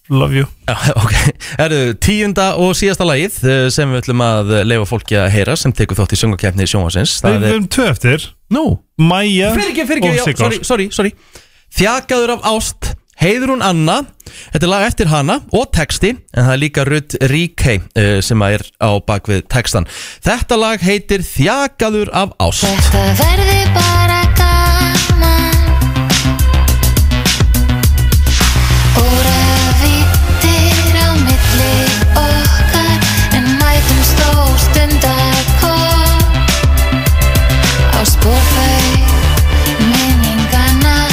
S3: love you
S1: já, *laughs* ok Herðu, tíunda og síðasta lagið eh, sem við ætlum að leifa fólki að heyra sem tekur þátt í söngakefni sjónvarsins
S3: Við
S1: Það
S3: við
S1: er,
S3: erum tvö eftir,
S1: nú,
S3: Maja
S1: fyrir ekki, fyrir
S3: og
S1: ekki, já,
S3: Siggar
S1: sorry, sorry, sorry Þjakaður af ást, heiður hún Anna Þetta er lag eftir hana og texti En það er líka Rutt Ríkei eh, sem að er á bakvið textan Þetta lag heitir Þjakaður af ást
S9: Þetta verði bara gaman Óra vittir á milli okkar En mætum stór stundarkom Á spórfau minningana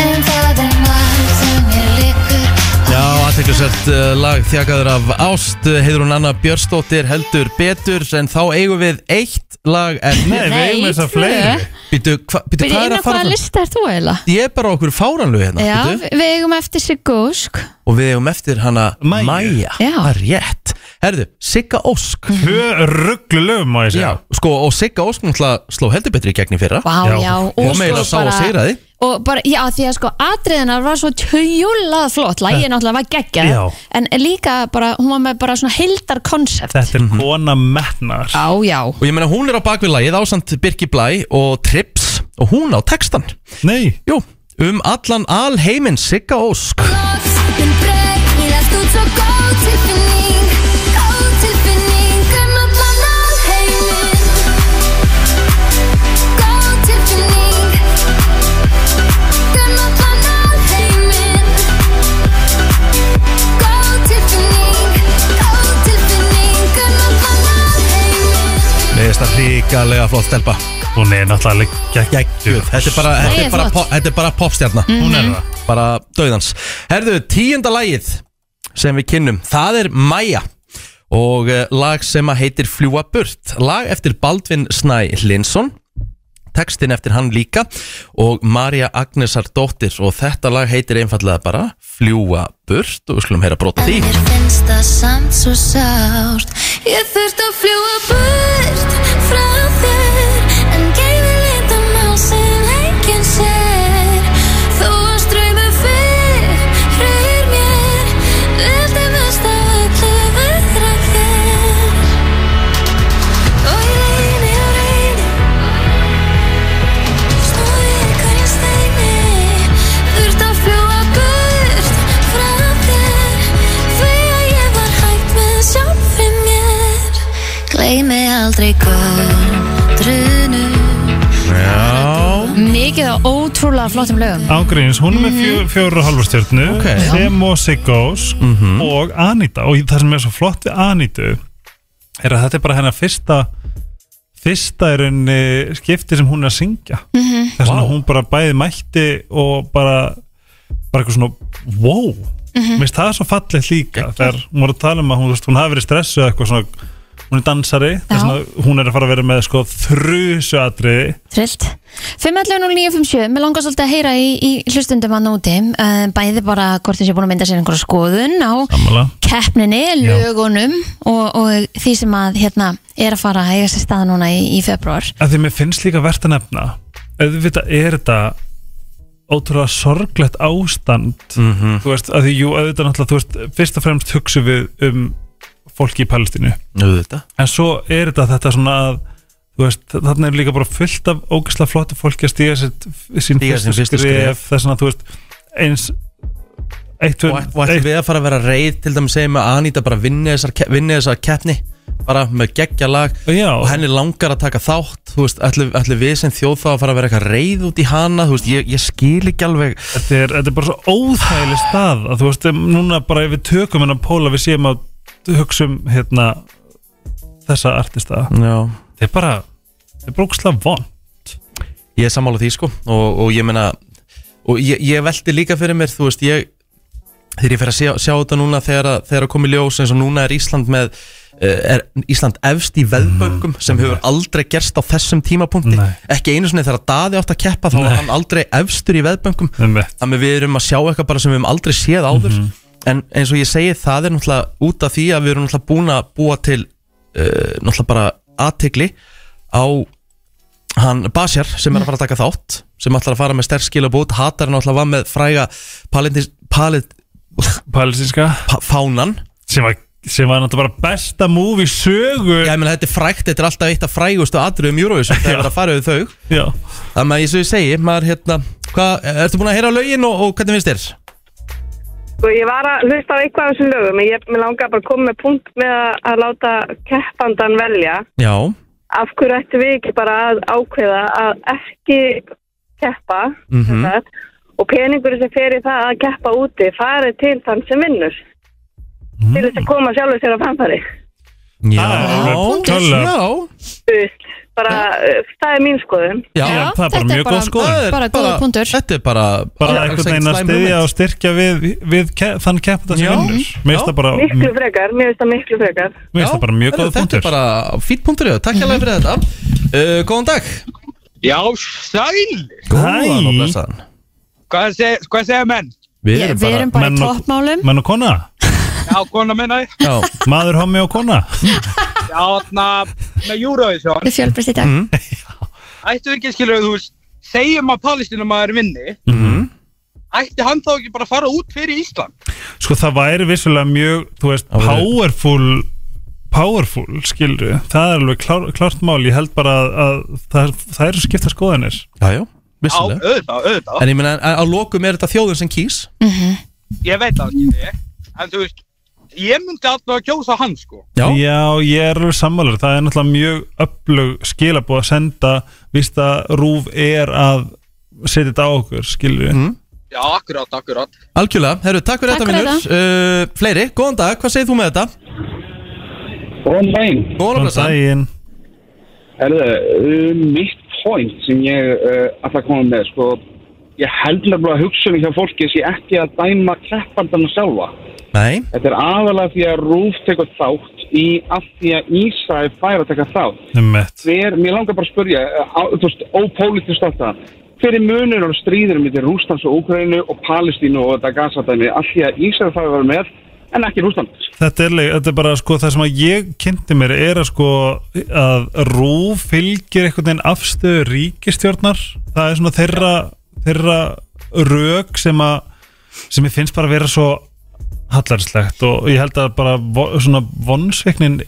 S9: En það er margt sem ég liggur
S1: Já, aðteklisvert uh, lag Þjakaður af ást eh, Heiður hún Anna Björnsdóttir heldur betur En þá eigum við eitt lag eftir
S3: Nei, við
S2: Nei,
S3: erum þess að
S2: tvö.
S3: fleiri
S1: Býtu, hva, býtu
S2: Byrja
S1: hvað er
S2: inn á
S1: að fara
S2: hvaða
S1: fram?
S2: lista er þú eiginlega?
S1: Ég er bara okkur fáranlu hérna
S2: Já,
S1: býtu.
S2: við við eigum eftir Sigga Ósk
S1: Og við eigum eftir hana
S3: Mæju.
S1: Maja
S2: Já. Mhm.
S1: Það er rétt Herðu, Sigga Ósk
S3: Tvö rugglu lögum má ég segja
S1: Já, sko, og Sigga Ósk náttúrulega sló heldur betri í gegn í fyrra
S2: Vá,
S3: Já.
S2: já,
S1: Og
S2: og
S1: meira sá
S2: svo
S1: að
S2: bara
S1: sigraði
S2: og bara, já, því að sko atriðinar var svo tjúlað flott, lægið náttúrulega var geggjað
S3: Já.
S2: en líka bara, hún var með bara svona heildar konsept,
S3: Þetta
S1: Mhm.
S3: er kona metnar
S2: já, já
S1: Og ég meina, hún er á bakvið lagið ásamt Birki Blæ og Trips Og hún á textan
S3: Nei,
S1: Jú, um allan alheiminn Sigga Ósk
S9: Minn breg, ég lest út svo góð tilfinning Góð tilfinning um allan alheiminn Góð tilfinning um allan alheiminn Góð tilfinning, góð tilfinning um allan alheiminn
S1: Nei, þetta er ríkalega flott stelpa
S3: hún er náttúrulega geggjuð
S1: Þetta er bara, þetta
S2: Lagið
S1: er
S2: er
S1: bara,
S2: flott.
S1: pop- þetta er bara popstjarna
S3: Hún
S2: Mhm.
S3: er það
S1: Bara döðans Herðu, tíunda lagið sem við kynnum Það er Maja Og eh, lag sem að heitir Fljúa burt Lag eftir Baldvin Snæ Linsson Textin eftir hann líka Og Marja Agnesar dóttir Og þetta lag heitir einfallega bara Fljúa burt Og við skulum heyra brota því
S9: Mér finnst það samt svo sárt Ég þurft að fljúa burt frá þér En geifi lita mál sem enginn sér Þó að ströymi fyrir mér Vildi mest af öllu vera þér Og ég reyni og reyni Snúi einhverjum steini Þurft að fljúa burt frá þér Því að ég var hægt með sjálfri mér Gleimi aldrei góð
S2: fullt af ótrúlega flottum lögum
S3: Ágríns, hún er með fjó- fjóra og halva stjörnu
S1: Mhm. Ok. Mhm.
S3: sem og Siggós og Anita og það sem er svo flott við Anitu er að þetta er bara hennar fyrsta fyrsta er henni skipti sem hún er að syngja -hmm. þess vegna
S1: Mhm. Vá.
S3: hún bara bæði mætti og bara bara eitthvað svona wow mm
S1: Mhm.
S3: -hmm. Mist, það er svo fallið líka þegar hún var að tala um að hún, þú veist, hún hafi verið stressuð eitthvað svona hún er dansari
S2: Já.
S3: þess vegna hún er að fara að vera með sko þrusu atriði
S2: Trillt 5.11.09.57, mér langar svolítið að heyra í, í hlustundum að núti uh, bæði bara hvort þessi búin að mynda sér einhverja skoðun á
S3: Sammála
S2: keppninni, lögunum og, og því sem að hérna er að fara að eiga sér stað núna í, í februar
S3: að því mér finnst líka verðt að nefna auðvitað er þetta ótrúlega sorglegt ástand
S1: Mhm.
S3: þú veist, að því, jú, auðvitað náttúrulega þú veist, fyrst og fremst hugsu við um fólki í Palestínu,
S1: Auðvitað
S3: en svo er þetta þetta svona að, þú veist, þarna er líka bara fullt af ógeðslega flottu fólki að stíga sér, sín
S1: Stíga sín
S3: fyrstu
S1: fyrstu
S3: skref,
S1: skref.
S3: þess að þú veist eins eitt,
S1: Og ætt- og ættum við að fara að vera reyð til dæmis segjum að Anita bara vinni þessar, ke- vinni þessar keppni bara með geggja lag
S3: já,
S1: og henni langar að taka þátt þú veist, ætlum, ætlum við sem þjóð þá að fara að vera eitthvað reyð út í hana þú veist, ég, ég skil ekki alveg
S3: þetta er, þetta er bara svo óþægileg stað að þú veist, um, núna bara ef við tökum hennar póla við séum að hugsa um hérna þessa artista
S1: Já.
S3: þetta er bara, þetta er bara ógslag von
S1: ég er sammála því sko og, og ég meina og ég, ég velti líka fyrir mér þú veist ég þegar ég fer að sjá, sjá þetta núna þegar að, þegar að komi ljós eins og núna er Ísland með eh, er Ísland efst í veðböngum sem hefur aldrei gerst á þessum tímapunkti
S3: Nei.
S1: ekki einu sinni þegar að daði átt að keppa þá var hann aldrei efstur í veðböngum þannig við erum að sjá eitthvað bara sem við hefum aldrei séð áður
S3: Mhm.
S1: en eins og ég segi það er náttúrulega út af því að við erum náttúrulega búin að búa til uh, náttúrulega bara aðtegli á hann Basjar sem er að fara að taka þátt sem ætlar að fara með sterk skilabút hatar náttúrulega var með fræga palindis, palid,
S3: palestinska
S1: pa, fánan
S3: sem var, sem var náttúrulega bara besta múvi sögu
S1: ég meina þetta er frægt, þetta er alltaf eitt af frægustu atriðum Eurovision þegar
S3: Já.
S1: það er að fara við þau
S3: já.
S1: þannig að eins og ég segi, maður hérna hvað, ertu búin að heyra lögin og, og hvernig finnst þér?
S10: Sko, ég var að hlusta á eitthvað af þessum lögum en ég mér langaði bara að koma með punkt með að, að láta keppandan velja
S1: Já,
S10: af hverju ættum við ekki bara að ákveða að ekki keppa
S1: Mhm.
S10: sem sagt, og peningur sem fer í það að keppa úti farið til þann sem vinnur til þess
S1: Mm.
S10: að koma sjálfur sér á framfæri
S3: Það er alveg tölulega.
S1: já.
S10: Þú veist, bara, uh, það er mín skoðum
S1: Já,
S3: Já, það er bara
S2: þetta
S3: mjög góð skoðun.
S1: Það er
S2: Sko, Bara góða punktur
S1: Þetta er bara
S3: bara einhvern veginn að stiðja og styrkja við, við ke þann keppanda sem
S1: Já.
S3: vinnur mér finnst
S1: Já.
S3: það bara,
S10: miklu
S1: Mhm.
S10: frekar, mér finnst það miklu frekar
S3: mér finnst það bara mjög góð
S1: Þetta er
S3: punktur
S1: bara fýtt punktur já. Takk
S3: *laughs*
S1: hérlega fyrir þetta uh, Góðan dag
S11: Já, sæl!
S1: Góðan
S3: Hæ.
S1: og blessaðan
S11: Hvað segja, hvað segja menn?
S1: Við
S2: Ég- Við erum bara í
S3: menn og-
S2: toppmálum
S3: menn og kona,
S11: Já, kona minna, já,
S3: *laughs*
S1: Já,
S3: maður, homi og
S1: *laughs*
S3: kona
S11: þarna, með Eurovision.
S2: Við fjölbrist í dag
S3: Mm-hmm.
S11: Ættu ekki að skilja, þú veist, segjum að Palestinum maður vinni, ætti hann þá ekki bara að fara út fyrir Ísland?
S3: sko það væri vissulega mjög þú veist,
S1: Það væri-
S3: powerful powerful, skilru það er alveg klár, klárt mál, ég held bara að, að það, það eru skipta skoðanir
S1: já, já,
S11: Já,
S1: vissulega
S11: auðvitað, auðvitað.
S1: En ég meina, að að lokum er þetta þjóðin sem kýs
S11: Ég veit það ekki þig, en þú veist, ég myndi alltaf að kjósa hann, sko.
S1: Já,
S3: ég er alveg sammálar það er náttúrulega mjög öflug skilabóð að senda, víst að rúf er að setja þetta á okkur skilru,
S1: Mm.
S11: Já, akkurat, akkurat.
S1: algjörlega, herru, takk fyrir
S2: Takk
S1: þetta
S2: fyrir
S1: vinnur uh, Fleiri, góðan dag, hvað segir þú með þetta?
S9: Góðan daginn.
S1: Góðan og
S3: þann
S1: blessaðan
S3: daginn
S9: Herðu, um, mitt point sem ég uh, alltaf komið með, sko, ég held nefnilega að hugsunum hjá fólki sé ekki að dæma kreppandana sjálfa.
S1: Nei,
S9: Þetta er aðalega því að Rúf tekur þátt í að því að Ísrael fær að taka þátt.
S3: Einmitt.
S9: Hver, mér langar bara að spurja, uh, á- þú veist, ópólítist alltaf, hver er munur á stríðinu mitt í Rúslands og Úkraínu og Palestínu og þetta gasatæmi að því að Ísrael fær að vera með en ekki Rúsland?
S3: Þetta er, leik- þetta er bara sko það sem að ég kynnti mér er að sko að rúf fylgir einhvern veginn afstöðu ríkistjórnar það er svona þeirra, þeirra rök sem að sem ég finnst bara að vera svo hallarslegt og ég held að bara vo, svona vonsveiknin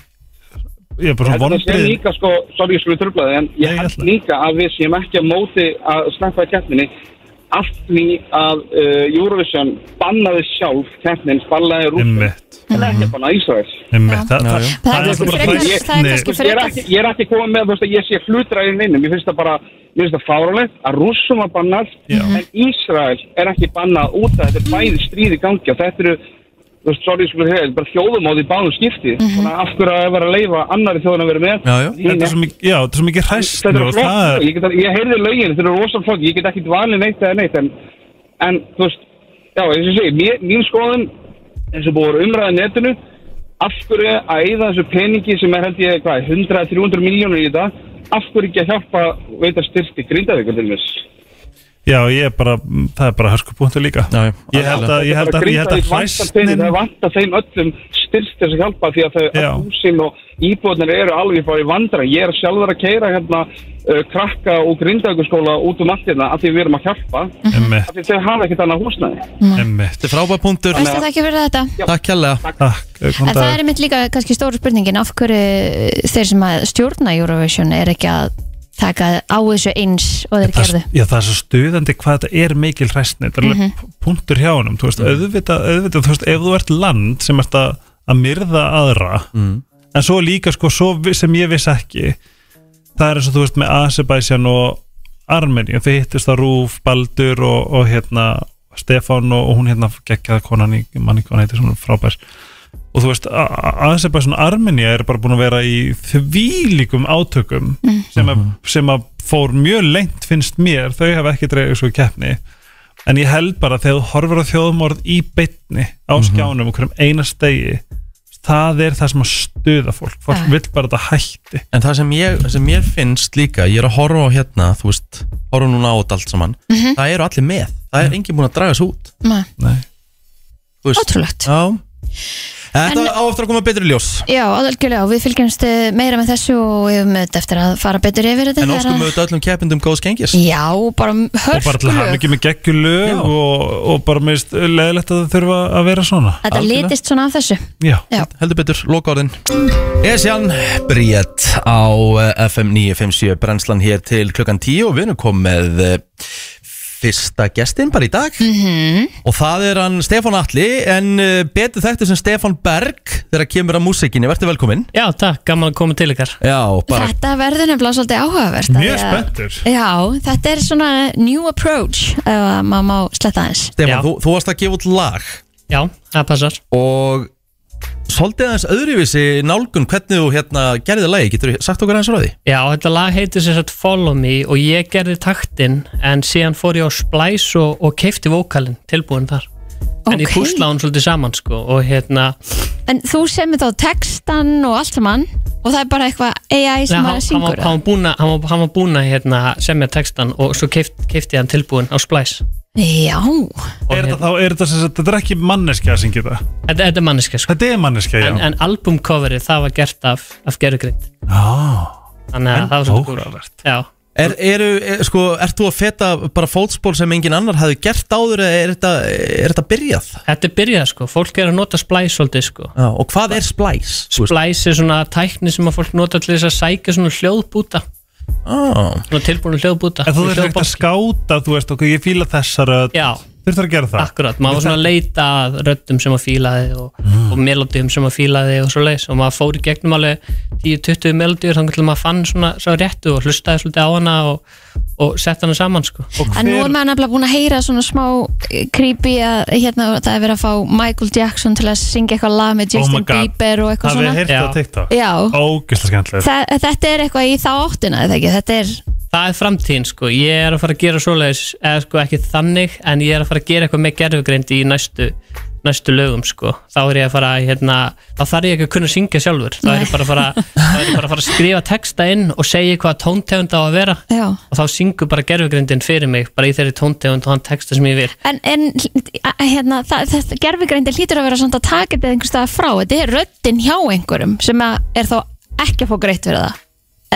S3: ég er bara svona
S9: Ég held að það sé
S3: vonbrið
S9: líka sko, sorry ég skulle tröfla þig en
S3: Nei,
S9: ég held
S3: ætla.
S9: líka að við séum ekki að móti að sleppa í keppninni allt því að uh, Eurovision bannaði sjálf keppnin, bannaði
S3: Rúsland
S9: en ekki að banna Ísraels
S3: Einmitt, það- Já, það- já. það er
S9: náttúrulega
S3: kannski
S9: bara
S3: frekar-
S9: hræsni.
S3: það er kannski
S9: Þú veist, ég er
S3: frekar-
S9: ekki- Ég er ekki komið með þú veist, að ég sé flutræðin innum Ég finnst það bara, mér finnst það fáralegt að rússum að bannað En Ísrael er ekki bannað út af þetta er bæði stríði gangi Og þetta eru, þú veist, sorry, ég skulle segja, þetta er bara þjóðum á því báðum skipti Þannig að af hverju að vera að leifa annari þjóðin að vera með Hinn
S3: Þetta er
S9: ekki.
S3: svo mikið, Mhm. já, þetta er svo mikið hræstni
S9: Þetta er sko.
S3: og
S9: flott,
S3: það er
S9: ég, get, að- ég heyrði lögin, þetta er rosa flott, ég get ekki valið neitt eða neitt, en, en þú veist, já, eins og ég segi, mér, mín skoðun, eins og búið að vera umræða á netinu, af hverju að eyða þessu peningi sem er held ég, hvað, 100-300 miljónur í þetta, af hverju ekki að hjálpa veita styrsti grindavíkur til þess?
S3: Já, ég er bara, það er bara hörskupúntu líka já, Ég held að, ég held að, ég held að hræstnin
S9: Það vantar þeim öllum styrst þess að hjálpa því að þau öll húsin og íbúðnir eru alveg bara í vandra. Ég er sjálfur að keira hérna uh, krakka og grindaugurskóla út um allt hérna af því við erum að hjálpa. Af því þau hafa ekkert annað húsnæði.
S1: Þetta er frábæð punktur
S2: Veistu það ekki fyrir þetta?
S1: Takk hérlega
S3: Takk
S2: En það er mitt líka kannski stóru spurningin af hverju þeir sem að stjórna Eurovision er ekki að taka á þessu eins og þeir gerðu
S3: Já, það er svo stuðandi hvað þetta er mikil hræstni Þetta er alveg
S2: Mhm.
S3: p- punktur hjá honum Þú veist, auðvitað, auðvitað, þú veist, ef þú ert land sem ert að, að myrða aðra En svo líka, sko, svo vi- sem ég viss ekki Það er eins og þú veist með Azerbaijan og Armeni Þau hittist að Rúf, Baldur og, og hérna Stefán og, og hún hérna geggjaða konan í manni hvað hann heitir svona frábær og þú veist, Azerbaijan og Armenia er bara búin að vera í þvílíkum átökum sem, að, sem að fór mjög lengt finnst mér, þau hafa ekki dreigðið svo í keppni en ég held bara að þegar þú horfur á þjóðmorð í beitni á skjánum okkur um eina stegi það er það sem að stuða fólk fólk
S1: Já.
S3: vill bara þetta hætti
S1: En það sem, ég, sem mér finnst líka, ég er að horfa á hérna, þú veist, horfa núna á þetta allt saman,
S2: Mhm.
S1: það eru allir með, það er enginn búin að draga svo út.
S2: Nei.
S1: þú veist.
S2: Ótrúlegt.
S1: Já. Þetta
S2: En-
S1: á eftir að koma betri í ljós.
S2: Já, algjörlega, og við fylgjumst eh, meira með þessu og við höfum auðvitað eftir að fara betur yfir þetta
S1: En
S2: þegar
S1: óskum
S2: að-
S1: auðvitað öllum keppindum góðs gengis.
S2: Já, bara
S3: og bara til að hafa
S2: hörflug
S3: ekki með geggjulög og, og bara meðist leðilegt að það þurfa að vera svona
S2: Þetta litist svona af þessu
S3: Já,
S2: Já.
S1: heldur betur, loka orðin Esjan, Bríett á eh, FM 957 brennslan hér til klukkan 10 og við erum komið með eh, fyrsta gestin bara í dag
S2: Mhm.
S1: og það er hann Stefán Atli en eh, betur þekktur sem Stefán Berg þegar kemur að músikinni, verður velkominn
S12: Já, takk, gaman að koma til ykkar
S1: Já, bara
S2: Þetta verður nefnilega svolítið áhugavert af því að- Já, þetta er svona new approach ef að maður má sletta aðeins
S1: Stefán, þú, þú varst að gefa út lag
S12: Já, það passar
S1: Og svolítið aðeins öðruvísi nálgun hvernig þú hérna gerðið lagi, getur þú sagt okkur aðeins frá því?
S12: Já, þetta lag heitir sem sagt Follow Me og ég gerði taktinn en síðan fór ég á Splice og, og keifti vókalinn tilbúin þar En ég
S2: Ókei.
S12: púsla hún svolítið saman sko og hérna
S2: En þú semur þá textan og allt saman og það er bara eitthvað AI sem
S12: Nei,
S2: maður
S12: hann-
S2: syngur
S12: hann var búinn að- hann var- hann var búinn að hérna, semja textan og um svo keifti, keifti ég hann tilbúin á Splice
S2: Já
S3: Er þetta þá, er þetta sem sagt, þetta er ekki manneskja að syngja þetta?
S12: hérna- Þetta, þetta er manneskja sko
S3: Þetta er manneskja, já
S12: En, en albumcoverið það var gert af, af gerugrind
S3: ah,
S12: Þannig að
S1: En
S12: það var svolítið
S3: áhugavert.
S12: Já
S1: Er, eru, er, sko, ert þú að feta bara fótspól sem engin annar hafði gert áður eða er þetta, er þetta byrjað?
S12: Þetta er byrjað sko, fólk er að nota Splice svolítið sko
S1: Já, og hvað er Splice?
S12: Splice er svona tækni sem að fólk nota til þess að sækja svona hljóðbúta
S1: oh.
S12: Svona tilbúinu hljóðbúta
S3: En þú þurftur ekkert að skáta, þú veist, ok, ég fíla þessar rödd
S12: Já.
S3: Þurftur að gera það
S12: Akkurat, maður var svona að leita að röddum sem að fílaði og, og melodíum sem að fílaði og svo leis og maður fór í gegnum alveg 10-20 melodíur þannig að maður fann svona svo réttu og hlustaði svolítið á hana og, og sett hana saman sko
S2: En nú er maður nefnilega búin að heyra svona smá eh, creepy að hérna, það er verið að fá Michael Jackson til að syngja eitthvað lag með
S3: Oh my
S2: Justin
S3: God.
S2: Bieber og eitthvað svona
S3: Hafið þið heyrt það Oh. á TikTok?
S2: Já,
S3: Ógislega skemmtilegt
S2: Þa, þetta er eitthvað í þá áttina eða ekki, þetta er
S12: Það er framtíðin sko, ég er að fara að gera svoleiðis eða sko ekki þannig en ég er að fara að gera eitthvað með gerfugreind í næstu næstu lögum sko, þá er ég að fara að, hérna, þá þarf ég ekki að kunna syngja sjálfur þá er ég bara að fara,
S2: *laughs*
S12: þá er ég bara að, fara að skrifa texta inn og segja hvað tóntegund á að vera
S2: Já.
S12: og þá syngur bara gerfugrindin fyrir mig bara í þeirri tóntegund og hann texta sem ég vil
S2: En, en a- a- hérna, það, það, gerfigrændi hlýtur að vera svona að taka þetta einhvers staðar frá Þetta er röddin hjá einhverjum sem að er þá ekki að fá greitt fyrir það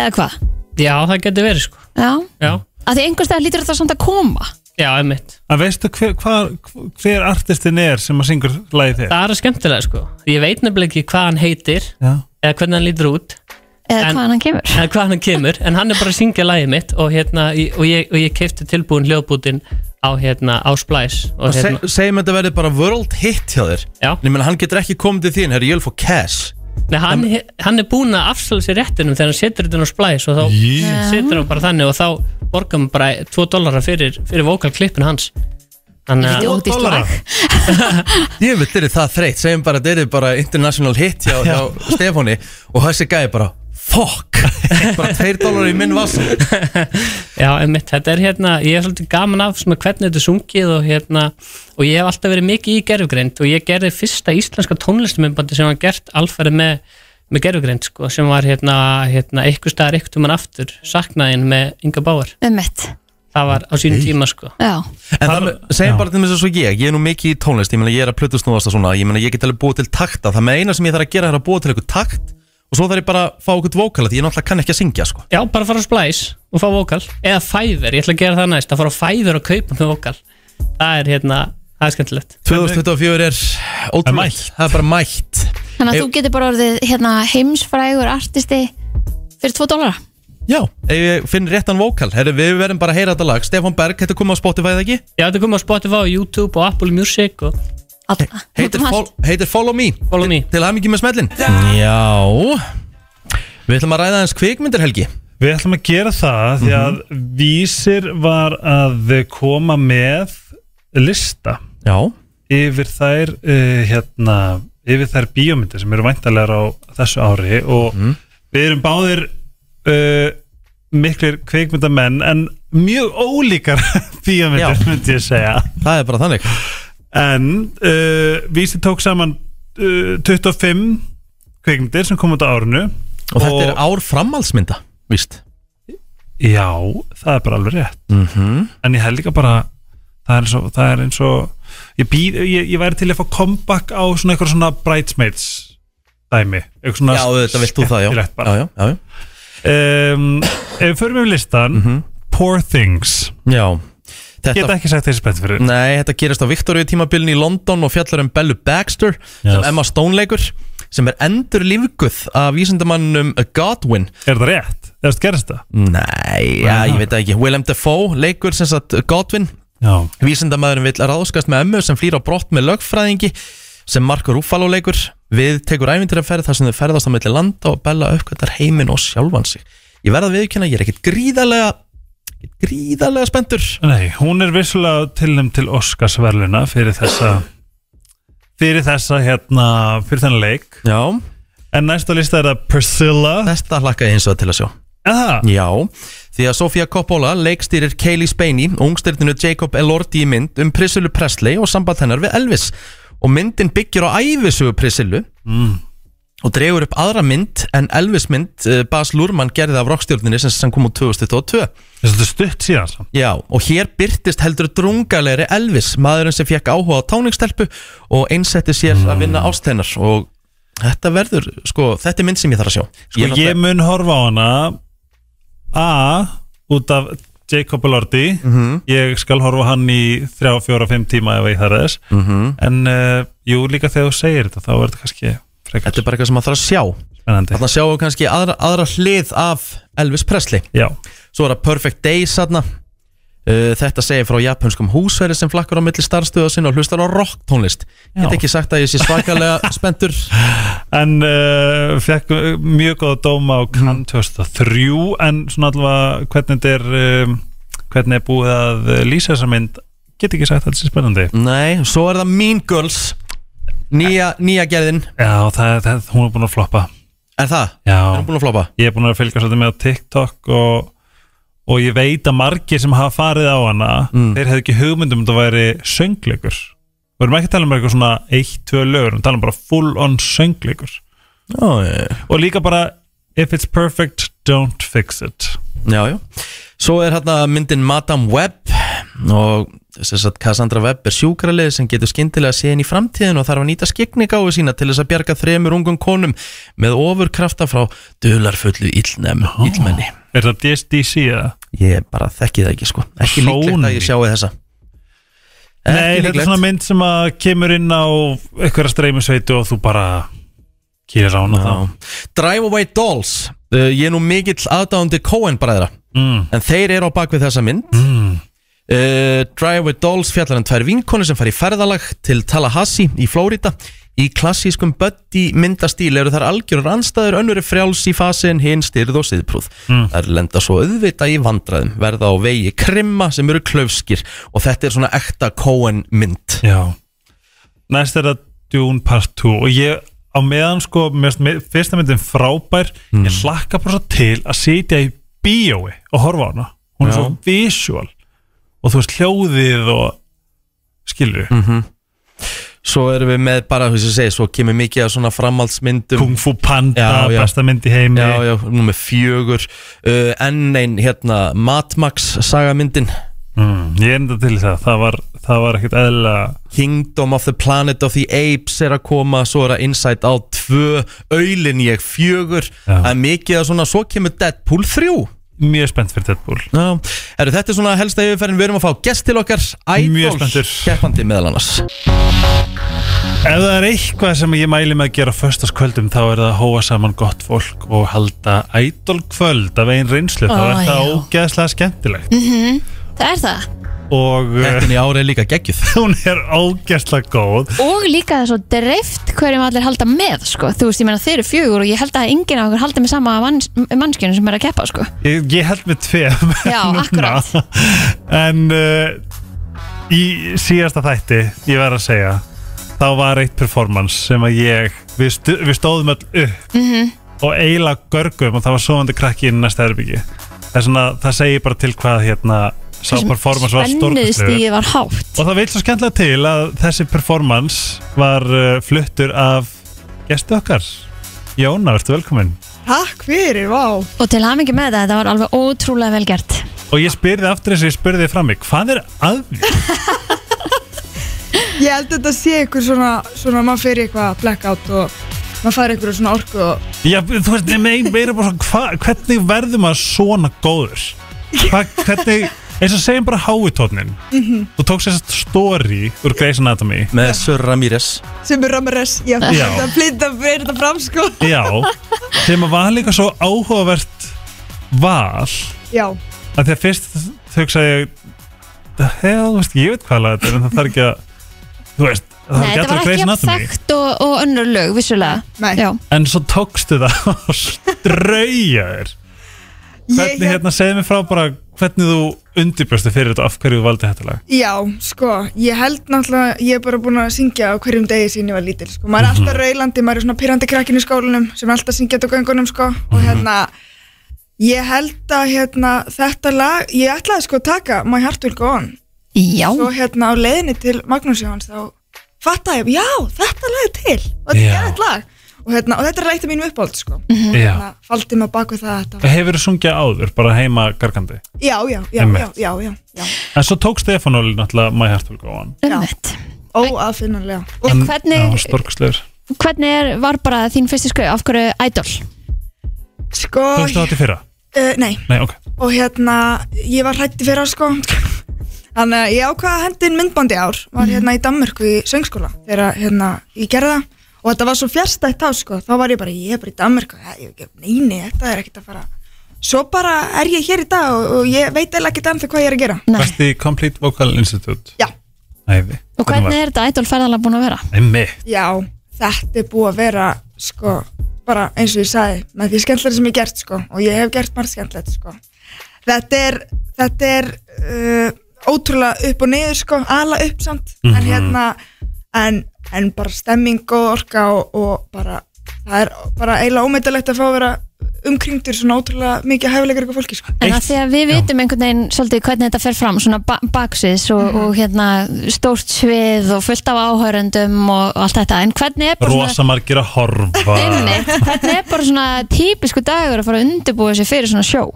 S2: Eða hvað?
S12: Já, það getur verið sko
S2: Já,
S12: Já,
S2: að því einhvers staðar hlýtur það samt að koma
S12: já einmitt
S3: En veistu hver, hvar, hver artistin er sem að syngur lagið þér?
S12: Það er skemmtilega sko, ég veit nefnilega ekki hvað hann heitir
S3: Já.
S12: eða hvernig hann lítur út
S2: Eða hvaðan hann kemur.
S12: eða hvaðan hann kemur, en hann er bara að syngja lagið mitt og, hérna, í- og ég, og ég keipti tilbúin hljóðbútin á, hérna, á Splice og,
S1: Og se-
S12: hérna,
S1: segjum þetta verði bara world hit hjá þér Já En ég menn hann getur ekki komið til þín, herri, ég vil fá cash
S12: Nei, hann, hann er búinn að afsala sér réttinum þegar hann setur þetta á Splice og þá
S1: Yeah.
S12: setur hann bara þannig og þá borgar hann bara 2 dollara fyrir, fyrir vokalklippin hans Þannig
S2: Þetta er ódýrt lag.
S1: Ég veit, þetta er það þreytt, segjum bara, þetta er bara international hit hjá, hjá Stefáni Og þessi gæði bara, fuck, *laughs* bara 2 dólar í minn vass
S12: Já, einmitt, þetta er hérna, ég er svolítið gaman af svona hvernig þetta er sungið og hérna og ég hef alltaf verið mikið í gerfugreind og ég gerði fyrsta íslenska tónlistumimbandi sem var gert alfæri með, með gerfugreind sko, sem var hérna, hérna eitthvað staðar eitthvað mann aftur, saknaðin með Inga Báar,
S2: um mitt
S12: það var á sínum tíma sko
S2: Já,
S1: En það, með- segjum bara til þess að svo ég, ég er nú mikið í tónlist, ég meina ég er að plötusnúðast og svona Ég meina ég get alveg búið til takta, það með eina sem ég þarf að gera er að búið til eitthvað takt Og svo þarf ég bara að fá eitthvað vókala, því ég náttúrulega kann ekki að syngja, sko
S12: Já, bara fara á Splice og fá vokal eða Fiverr, ég ætla að gera það næst að fara á Fiverr og kaupa með vokal það er hérna, það er skemmtilegt
S1: 2024 er ótrúlega, það er bara mætt
S2: þannig að þú getur bara orðið hérna, heimsfrægur artisti fyrir 2 dólara
S1: Já Ef ég finn réttan vókal, herri, við verðum bara að heyra þetta lag Stefán Berg, þetta kom á Spotify eða ekki?
S12: Já, þetta kom á Spotify og YouTube og Apple Music og
S1: heitir, fol heitir Follow Me
S12: Follow Me
S1: Til hamingi með smellin Já Við ætlum að ræða aðeins kvikmyndir helgi
S3: Við ætlum að gera það því að
S12: Mhm.
S3: Vísir var að koma með lista
S1: Já.
S3: yfir þær uh, hérna, yfir þær bíómyndir sem eru væntalega á þessu ári og
S1: Mhm.
S3: við erum báðir uh, miklir kveikmyndamenn en mjög ólíkar *laughs* bíómyndir
S1: Já.
S3: myndi ég segja
S1: Það er bara þannig
S3: En uh, Vísi tók saman uh, 25 kveikmyndir sem kom út á árinu
S1: Og þetta er ár framhaldsmynda, víst
S3: Já, það er bara alveg rétt
S1: Mhm.
S3: En ég held líka bara Það er eins og, það er eins og ég, býð, ég, ég væri til að fá comeback á svona eitthvað svona bridesmaids dæmi Eitthvað svona
S1: Já, þetta vilt þú það, já.
S3: skemmtilegt bara.
S1: Já, já, Mhm. já.
S3: Um, Ef við förum yfir listan Poor Things
S1: Já
S3: Þetta... Geta ekki sagt þessi betur fyrir
S1: Nei, þetta gerist á Victoria tímabilin í London og fjallar um Bellu Baxter sem
S3: Yes.
S1: Emma Stone leikur sem er endur lífguð af vísindamannum Godwin
S3: Er það rétt? Er það gerist það?
S1: Nei, já, ég veit það ekki Willem Dafoe leikur sem sagt Godwin
S3: Já.
S1: Vísindamæðurinn vill ráðskast með Emmu sem flýr á brott með lögfræðingi sem Marko Ruffalo leikur Við tekur æfintirafæri þar sem þau ferðast á milli landa og Bella uppkvæmdar heiminn og sjálfan sig Ég verða að viðkynna, ég er ekkert gríðarlega gríðarlega spenntur
S3: Nei, hún er vissulega tilnum til Óskarsverluna fyrir þessa fyrir þessa hérna fyrir þennan leik
S1: Já.
S3: En næsta lista er það Priscilla
S1: Þetta hlakka ég eins og til að sjá
S3: Aha.
S1: Já, því að Sofía Coppola leikstýrir Kaylee Spaney, ungstyrninu Jacob Elordi í mynd um Priscilu Presley og samband hennar við Elvis og myndin byggir á æfisugu Priscilu
S3: mm.
S1: og dregur upp aðra mynd en Elvis mynd eh, Baz Luhrmann gerði af rockstjórninni sem, sem kom úr 2022
S3: Þetta er stutt síðan samt.
S1: Já, og hér byrtist heldur drungalegri Elvis, maðurinn sem fekk áhuga á táningstelpu og einsetti sér að vinna ástennar og þetta verður, sko, þetta er mynd sem ég þarf að sjá
S3: Sko ég,
S1: náttúrulega-
S3: mun horfa á hana A út af Jacob Elordi
S1: Mhm.
S3: ég skal horfa á hann í 3, 4, 5 tíma ef ég þarf þess
S1: Mhm.
S3: en uh, jú líka þegar þú segir þetta þá er þetta kannski frekar
S1: Þetta er bara eitthvað sem maður þarf að sjá
S3: Spennandi
S1: Þannig að sjáum við kannski aðra, aðra hlið af Elvis Presley
S3: Já.
S1: Svo er það Perfect Day satna Uh, þetta segir frá japanskum húsverði sem flakkur á milli starfstöða sinna og hlustar á rocktónlist Ég get
S3: Já.
S1: ekki sagt að ég sé
S3: *laughs*
S1: svakalega spenntur
S3: En uh, fekk uh, mjög góða dóma á
S1: Mhm.
S3: Cannes 2003 en svona allavega hvernig þetta er um, hvernig er búið að uh, lýsa þessa mynd get ekki sagt að þetta sé spennandi
S1: Mm. Nei, svo er það Mean Girls Nýja, nýja gerðin
S3: Já, það, það, hún er búin að floppa
S1: Er það?
S3: Já
S1: Er hún búin að floppa?
S3: Ég er búin að fylgja svolítið með á TikTok og, og ég veit að margir sem hafa farið á hana þeir hefðu ekki hugmyndum að það væri söngleikur Við erum ekki að tala um eitthvað svona eitt, tvö lögur, við talum um bara full on söngleikur
S1: oh, yeah.
S3: Og líka bara If it's perfect, don't fix it
S1: Já, já Svo er hérna myndin Madame Webb og sem sagt Cassandra Webb er sjúkralið sem getur skyndilega séð inn í framtíðin og þarf að nýta skiknigáfi sína til þess að bjarga þremur ungum konum með ofurkrafta frá dularfullu illnem, illmenni
S3: Er það DSDC eða?
S1: Ég bara þekki það ekki sko Ekki líklegt að ég sjái þessa
S3: Nei, þetta er svona mynd sem að kemur inn á einhverja streymisveitu og þú bara kýrir á hana þá
S1: Drive Away Dolls uh, Ég er nú mikill aðdáðandi Coen bræðra
S3: mm.
S1: En þeir eru á bakvið þessa mynd mm. Uh, Drive with Dolls fjallar hann tvær vinkonu sem fari í ferðalag til Tallahassee í Flórida Í klassískum buddy myndastíl eru þar algjörur anstæður önnur er frjáls í fasin, hinn styrð og siðprúð
S13: Mm.
S1: Þær lenda svo auðvita í vandræðum, verða á vegi krimma sem eru klöfskir og þetta er svona ekta Coen mynd
S3: Já Næst er það Dune Part 2 og ég á meðan sko, mér finnst mi- fyrsta myndin frábær
S1: Mm.
S3: ég hlakka bara svo til að sitja í bíói og horfa á hana hún er
S1: Já.
S3: svo visual og þú veist hljóðið og skilur
S1: mm Svo erum við með bara, þú veist ég segi, svo kemur mikið að svona framhaldsmyndum
S3: Kung Fu Panda, besta mynd í heimi
S1: Já, já, nummer fjögur uh, Enn ein, hérna, Matmax sagamyndin
S3: mm, Ég enda til það, það var, það var ekkert eðla
S1: Kingdom of the Planet of the Apes er að koma, svo er að Inside Out 2, Öylin ég fjögur Það er mikið að svona, svo kemur Deadpool 3
S3: Mjög spennt fyrir Deadpool
S1: Já, Heru, þetta er svona helsta yfirferðin, við erum að fá gest til okkar
S3: Mjög
S1: Idol, keppandi meðal annars
S3: Ef það er eitthvað sem ég mæli með að gera á föstaskvöldum þá er það að hóa saman gott fólk og halda ædolkvöld af einn reynslu, þá
S2: Ó,
S3: er það
S2: já.
S3: ógeðslega skemmtilegt
S2: Mhm. Það er það
S3: og
S2: Mm.
S3: eh,
S1: Þetta í ári er líka geggjuð
S3: *laughs* Hún er ógeðslega góð
S2: Og líka það er svo dreift hverjum allir halda með sko. Þú veist, ég meina þeir eru fjögur og ég held að enginn af okkur haldi með sama manns, mannskjörnum sem er að keppa sko.
S3: Ég, ég held með tveim *laughs*
S2: Já,
S3: akkurat En uh, í síðasta þætti, ég verð að segja þá var eitt performance sem að ég, við, stu, við stóðum öll upp
S2: Mhm.
S3: og eiginlega görgum og það var sofandi krakki inn í næsta erbyggi það, er svona, það segir bara til hvað hérna sá
S2: Þessum
S3: performance var
S2: Spennuðstigið
S3: stórkostlegur
S2: var hátt
S3: og það veit svo skemmtilega til að þessi performance var uh, fluttur af gestu okkar Jóna, ertu velkomin
S2: Takk fyrir, vá Og til hamingi með þetta, þetta var alveg ótrúlega vel gert
S3: og ég spyrði aftur eins og ég spurði þig frammi hvað er að
S8: Ég held að þetta sé eitthvað svona, svona maður fyrir eitthvað blackout og maður fær eitthvað svona orku og
S3: Já, þú veist, ég meina meira bara svona, hva, hvernig verður maður svona góður? Hva, hvernig, eins og segjum bara háitónin
S8: Mhm.
S3: Þú tókst þessast story úr Grey's Anatomy
S1: Með Sörra Mýres
S8: sem er Ramirez, ég held
S3: Já.
S8: að flytta fyrir þetta fram sko.
S3: Já, sem að var líka svo áhugavert val
S8: Já,
S3: að því að fyrst hugsaði ég The hell, þú veist, ég veit hvað lag þetta er en það þarf ekki að, þú veist það
S2: Nei,
S3: þarf ekki
S2: þetta
S3: allir
S2: var
S3: að
S2: ekki
S3: Grey's
S2: jafn
S3: Anatomy
S2: þekkt og, og önnur lög, vissulega Nei. Já,
S3: En svo tókstu það *laughs* og strauja þér Hvernig,
S8: hef-
S3: hérna, segðu mér frá bara hvernig þú undirbjóstu fyrir þetta og af hverju þú valdi þetta lag
S8: já, sko, ég held náttúrulega, ég er bara búin að syngja á hverjum degi sín ég var lítil, sko. Maður er alltaf raulandi, maður er svona pyrrandi krakkin í skólanum sem er alltaf syngjað á göngunum, sko. Og hérna, ég held að hérna, þetta lag, ég ætlaði sko að taka My Heart Will Go On.
S2: Já.
S8: Svo hérna á leiðinni til Magnús Jóhanns þá fattaði ég, já, þetta lag er til og þetta
S3: Já.
S8: er gæðið lag. Og, hérna, og þetta er leitt af mínum uppáld, sko.
S3: Mhm. Já.
S8: Hérna, faldi mig á bak við það að þetta var-
S3: Það hefur þú sungið áður, bara heima gargandi
S8: Já, já, já, já,
S3: Einmitt.
S8: já, já, já.
S3: En svo tók Stefán Óli náttúrulega My Heart Will Go On
S2: umvett
S8: Óaðfinnanlega
S3: En-
S2: Og
S3: Já,
S2: hvernig,
S3: storkuslegur
S2: hvernig er, var bara þín fyrsti skau, af hverju Idol?
S8: Sko
S3: Tókstu þetta í fyrra?
S8: Uh, nei,
S3: Nei, ok
S8: og hérna, ég var hrætti fyrir á sko Þannig að ég ákvaða að hendi inn myndbandi í ár Var hérna í Danmörku í söngskóla Þegar hérna, ég gerði það Og þetta var svo fjarstætt þá sko Þá var ég bara, ég er bara í Danmörku ja, ég- ég- Nei, nei, þetta er ekkert að fara Svo bara er ég hér í dag og, og ég veit eða ekkert ennþá hvað ég er að gera
S3: Varst í Complete Vocal Institute?
S8: Já.
S3: Æði
S2: Og hvernig er þetta Idol ferðalega búin að vera?
S3: Emmi
S8: Já, þetta er búið að vera sko, bara eins og ég sagði með því skemmtilega sem ég hef gert sko og ég hef gert margt skemmtilegt sko þetta er, þetta er uh, ótrúlega upp og niður sko ala upp samt, en
S14: Mhm.
S8: hérna en, en bara stemming og orka og, og bara það er bara eiginlega ómeitalegt að fá að vera umkringdur svona ótrúlega mikið hæfilegar ykkur fólki sko
S2: En að því að við vitum einhvern veginn svolítið hvernig þetta fer fram, svona ba baksviðs og,
S3: Mhm.
S2: og hérna stórt svið og fullt af áhörendum og, og allt þetta, en hvernig er bara
S3: Rosa margir að horfa
S2: Einmitt. Hvernig er bara svona típisku dagur að fara að undirbúa sér fyrir svona sjó?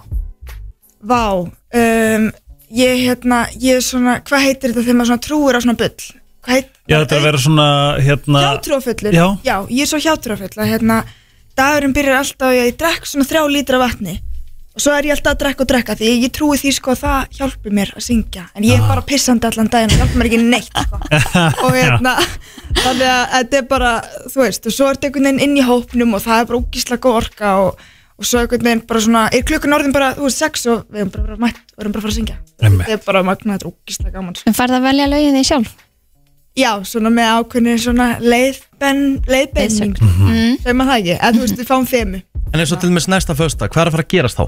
S8: Vá, um, ég hérna, ég er svona, hvað heitir þetta þegar maður svona trúir á svona bull? Hvað heit,
S3: Já, þetta er að vera svona, hérna
S8: hjátrúafullur
S3: Já.
S8: ég er svo hjátrúafull að hérna, dagurinn byrjar alltaf að ég drekk svona þrjá lítra vatni og svo er ég alltaf að drekka og drekka því ég trúi því sko að það hjálpi mér að syngja en ég er bara pissandi allan daginn og hjálpi mér ekki neitt
S3: *laughs*
S8: sko. og hérna þannig að þetta er bara, þú veist og svo er þetta einhvern veginn inn í hópnum og það er bara úkislega góð orka og, og svo einhvern veginn bara svona, er klukkan orðin bara, þú veist, sex og við erum bara, bara mætt og erum bara að fara að syngja
S3: Einmitt.
S8: þetta er bara magnað, þetta er ógislega gaman sko.
S2: En færðu að velja lögin þín sjálf?
S8: já, svona með ákveðni svona leiðben, leiðbenning
S2: Mm,
S1: Mhm.
S8: segir maður það ekki, eða þú veist, við fáum femu
S1: En eins og til dæmis næsta fösta, hvað er að fara að gerast þá?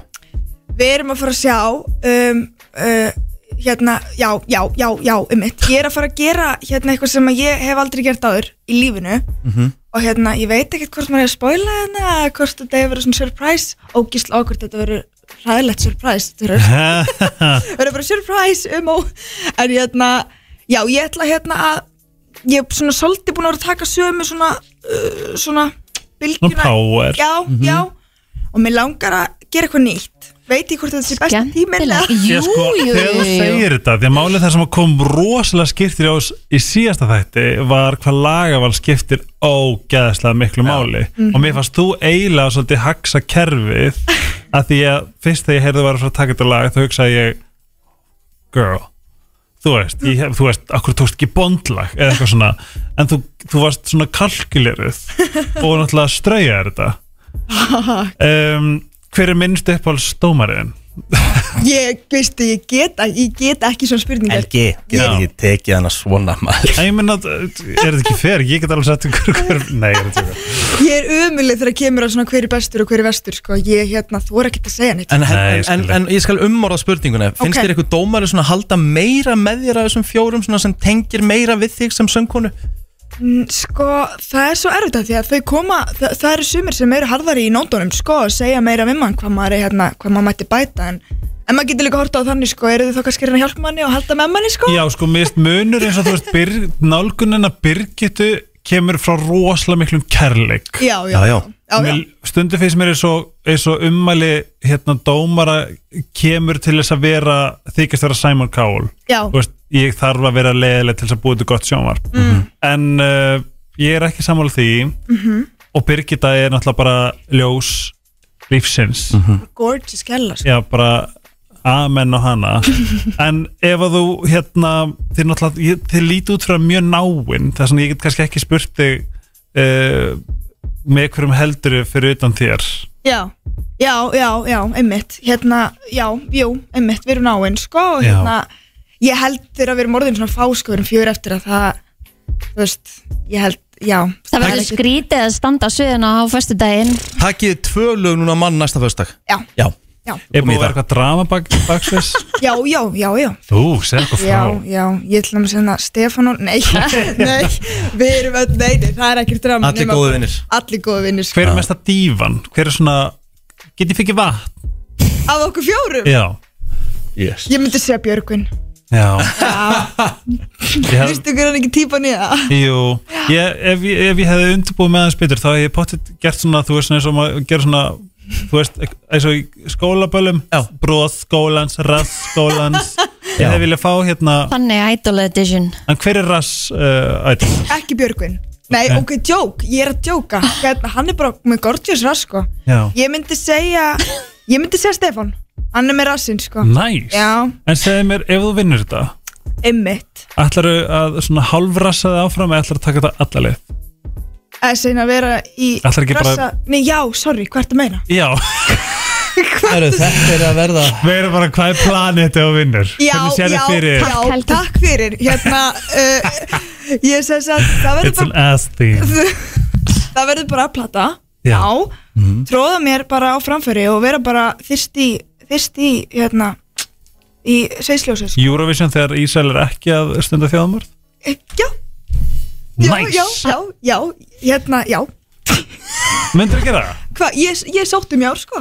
S8: við erum að fara að sjá um, uh, hérna, já, já, já, já um ég er að fara að gera hérna eitthvað sem að ég hef aldrei gert áður í lífinu
S3: Mhm.
S8: og hérna, ég veit ekkert hvort maður er að spoila hérna, eða hvort þetta hefur verið svona surprise ógísla okkur, þetta verið ræðilegt surprise, þetta verður
S3: *laughs* Þetta
S8: verður bara surprise um og en hérna, já, ég ætla hérna að ég er svona svolítið búin að vera að taka sömu svona, uh, svona bylgjuna,
S3: power.
S8: já,
S3: Mhm.
S8: já og mér langar að gera eitthvað nýtt veit ég hvort þetta sé besta tíminn eða-
S3: Ég sko, þegar þú segir þetta því að málið það sem kom rosalega skiptir á, í síðasta þætti var hvað lagaval skiptir ógeðslega miklu máli
S8: Mhm.
S3: og mér fannst þú eiginlega svolítið haxa kerfið að því að fyrst þegar ég heyrði var að fara að taka þetta lag þá hugsaði ég girl þú veist, ég, hef- þú veist, akkur tókst ekki bondlag eða eitthvað svona en þú, þú varst svona kalkuleruð og náttúrulega straujaði þetta um, hver er minnst uppáhalds dómarinn?
S8: ég, veistu, ég get, ég get ekki svona spurningar
S13: Helgi, getur
S3: Já.
S13: ekki tekið hana svona maður
S3: Nei, ég minna, er þetta ekki fer? Ég get alveg sagt ykkur hver, nei, er þetta ekki
S8: ég er umulig þegar kemur að svona hver er bestur og hver er vestur sko. ég hérna, þú er ekkert að segja neitt
S1: En, en, en, en ég skal umorða spurninguna Finnst
S8: Ok.
S1: þér eitthvað dómari svona halda meira með þér af þessum fjórum svona sem tengir meira við þig sem söngkonu?
S8: Mm, Sko, það er svo erfitt að því að þau koma, það, það eru sumir sem eru harðari í nótunum, sko, og segja meira um mann hvað maður er hérna, hvað maður mætti bæta, en, en maður getur líka að horta á þannig, sko, eru þau þá kannski að reyna að hjálpa manni og halda með manni, sko?
S3: Já, sko, mér finnst munur eins og þú veist byr, nálgunina Birgitu kemur frá rosalega miklum kærleik
S8: Já, já. Já, já. Já, já.
S3: Stundu finnst mér eins og, eins og ummæli hérna dómara kemur til þess að vera, þykist vera Simon Cowell
S8: Já.
S3: Þú veist, ég þarf að vera leiðileg til þess að búið til gott sjónvarp
S8: Mm.
S3: en uh, ég er ekki sammála því
S8: Mhm.
S3: og Birgitta er náttúrulega bara ljós lífsins
S8: Gorgeous kella, sko.
S3: Já, bara amen og hana En ef að þú hérna þið, náttúrulega- ég- þið líti út fyrir að mjög náin Það er svona ég get kannski ekki spurt þig uh, með hverjum heldur fyrir utan þér
S8: Já, já, já, já, einmitt, hérna, já, jú, einmitt, við erum náinn, sko, og
S3: Já.
S8: hérna, ég held þegar við erum orðin svona fá, sko, við erum fjör eftir að það, þú veist, ég held, já.
S2: Það verður
S8: ekki-
S2: skrítið að standa á sviðinu á fyrstu daginn
S1: Takið tvö lög núna á mann næsta föstak
S8: Já.
S1: Já
S8: Já.
S3: Er búið að vera eitthvað drama bak, *laughs* baksveis?
S8: Já, já, já, já.
S3: Þú, segð eitthvað frá
S8: Já, já, ég ætla að segna Stefán og, nei, *laughs* nei, við erum öll, nei, nei, það er ekkert drama
S3: Allir
S8: nema-
S3: góðir vinir.
S8: Allir sko. góðu vinnir
S3: Hver er mesta dívan? Hver er svona Get ég fikið vatn?
S8: Af okkur fjórum?
S3: Já yes.
S8: Ég myndi segja Björgvin
S3: Já Ég hef-
S8: Vistu hver hann ekki típa nýða?
S3: Jú, ég, ef, ég, ef ég hefði undirbúið með hans betur þá hef ég pottitt gert svona, þú veist, svona eins og maður gerir svona, þú veist, eins og í skólabölum, bróð skólans, rass skólans, ég hefði viljað fá hérna,
S2: Þannig Idol Edition
S3: en hver er rass uh, ætl?
S8: Ekki Björgvin Nei,
S3: Ok.
S8: ok, joke, ég er að djóka hérna, Hann er bara með gorgeous rass, sko
S3: Já.
S8: Ég myndi segja, ég myndi segja Stefán Hann er með rassinn, sko
S3: Næs.
S8: Já,
S3: En segðu mér, ef þú vinnur þetta,
S8: einmitt
S3: ætlaru að svona hálfrassa þig áfram eða ætlaru að taka þetta allalið?
S8: Það er segna að vera í
S3: Ætlar ekki bara-
S8: Nei, já, sorry, hvað ertu að meina?
S3: Já. *laughs* Heru, þetta er að verða. Verður bara hvað er planið þegar þú vinnur?
S8: Já,
S3: Hvernig
S8: já,
S3: sérðu fyrir þér?
S8: já, takk fyrir Hérna, uh, ég segi að það
S3: It's
S8: verður
S3: an ass thing.
S8: bara Það verður bara að plata
S3: Já. Mhm.
S8: Tróða mér bara á framfæri og vera bara þyrst í, þyrst í, hérna í sveisljósið sko.
S3: Eurovision þegar Ísrael er ekki að stunda þjóðamörð?
S8: Já,
S3: Nice.
S8: já, já, já, hérna, já
S3: Myndir að gera það?
S8: Hva, ég, ég sótt um jár, sko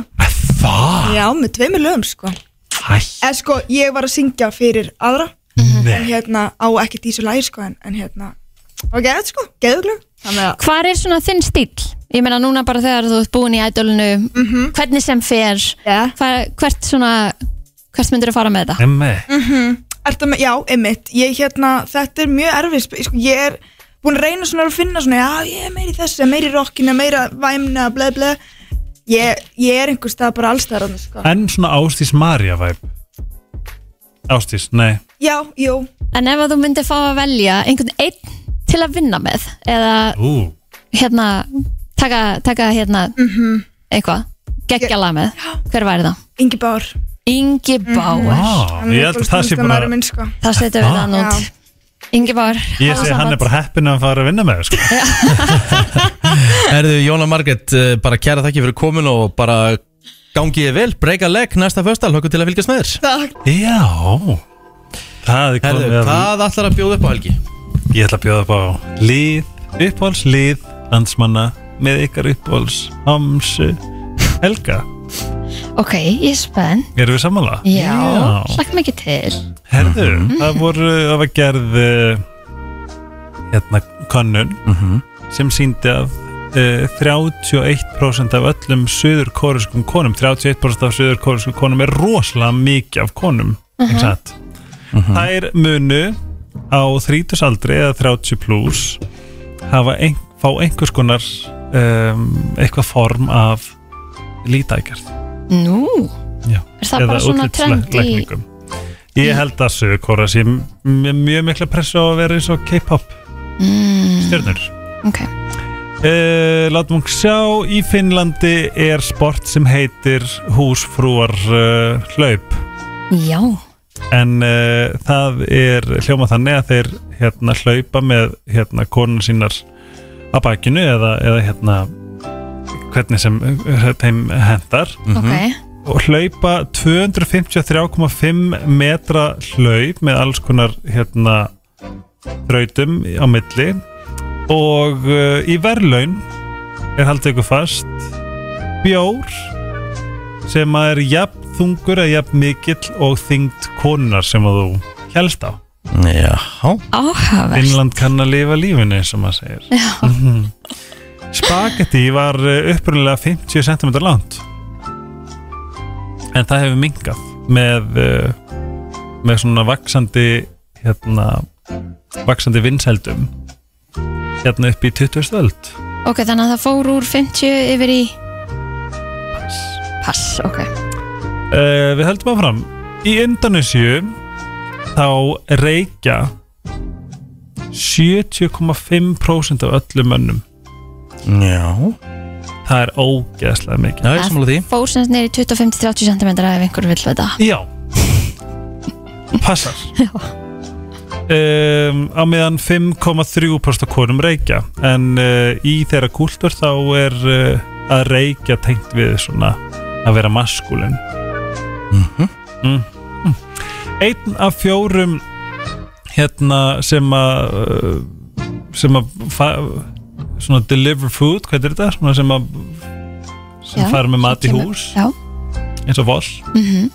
S3: Hvað?
S8: Já, með tveimur lögum, sko
S3: Æ.
S8: En sko, ég var að syngja fyrir aðra En hérna, á ekkert í svo lægi, sko En, en hérna, og geðið, sko, geðuglög Þannig að
S2: Hvar er svona þinn stíl? Ég meina núna bara þegar þú ert búin í Idolinu
S8: Mhm.
S2: Hvernig sem fer
S8: yeah.
S2: Hvert svona Hvert myndir að fara með þetta?
S3: Emmi
S8: mm með, já, einmitt ég hérna, þetta er mjög erfið sp- sko, ég er búin að reyna svona að finna svona, já, ég er meiri í þessu, meiri í rockinu meira væmna, ble, ble ég, ég er einhvers stað bara allstæðar sko.
S3: En svona Ástís Maria væp Ástís, nei
S8: já, jú
S2: En ef að þú myndir fá að velja einhvern einn til að vinna með eða
S3: Ú,
S2: hérna taka, taka hérna eitthvað geggja lag með Hver væri það?
S8: Ingi Bár
S2: Ingi Bár
S3: Vá, ég held að það sé bara-
S8: minn, sko.
S2: Það setjum við
S3: Ah.
S2: þann út Ingi Bár
S3: Ég segi hann er bara heppin að fara að vinna með þér, sko.
S1: Erðu Jóna Margrét, eh, bara kæra þakki fyrir komin og bara gangi ég vel, breyka legg næsta föstal, höggu til að fylgjast með þér
S8: Takk
S3: Já Það
S1: Herðu,
S3: er komið að-
S1: hvað ætlar að bjóða upp á helgi?
S3: Ég ætla að bjóða upp á lið, uppáhaldslið landsmanna með ykkar uppáhalds Hamsu Helga
S2: Ok, ég er spenn
S3: Erum við sammála?
S2: Já, slakk mikið til
S3: Herðu, það voru, það var gerð uh, hérna könnun sem síndi að uh, 31% af öllum suður kóreskum konum 31% af suður kóreskum konum er rosalega mikið af konum
S9: Mhm.
S3: ekki satt? Þær munu á 30 aldri eða 30 plus hafa ein, fá einhvers konar um, eitthvað form af lítækjart
S2: Nú,
S3: Já.
S2: er það bara svona trend í
S3: útlitslækningum. Ég held að Suðurkóra sé m- með mjög mikla pressu á að vera eins og K-pop
S2: mm,
S3: stjörnur
S2: Ok,
S3: uh, Látum hún sjá Í Finnlandi er sport sem heitir húsfrúar uh, hlaup
S2: já
S3: en uh, það er hljóma þannig að þeir hérna hlaupa með hérna konun sínar að bakinu eða, eða hérna hvernig sem eh, þeim hendar
S2: Ok.
S3: og hlaupa 253,5 metra hlaup með alls konar hérna þrautum á milli og uh, í verðlaun er haldið ykkur fast bjór sem að er jafn þungur eða jafn mikill og þyngd konunar sem að þú helst á
S13: Já
S2: Áhafar
S3: Finnland kann að lifa lífinu eins og maður segir Mhm. Spagetti var eh, upprunnilega 50 cm langt en það hefur mingað með uh, með svona vaksandi hérna vaksandi vinsældum hérna upp í 20. öld
S2: Ok, þannig að það fór úr 50 yfir í Pass, ok
S3: Uh, við höldum áfram Í Indonesia þá reykja 70,5% af öllum mönnum Já Það er ógeðslega mikið
S2: Það Fór sem neyri 25-30 cm ef einhver vill veita
S3: Já Passar um, Á meðan 5,3% af konum reykja En uh, í þeirra kúltur þá er uh, að reykja tengt við svona að vera maskulin mm. Einn af fjórum hérna sem að uh, sem að fa- svona deliver food, hvað er þetta? Svona sem að sem
S9: Já,
S3: fara með mat í
S9: sem kemur-
S3: hús
S2: Já.
S3: eins og vol
S2: Mhm.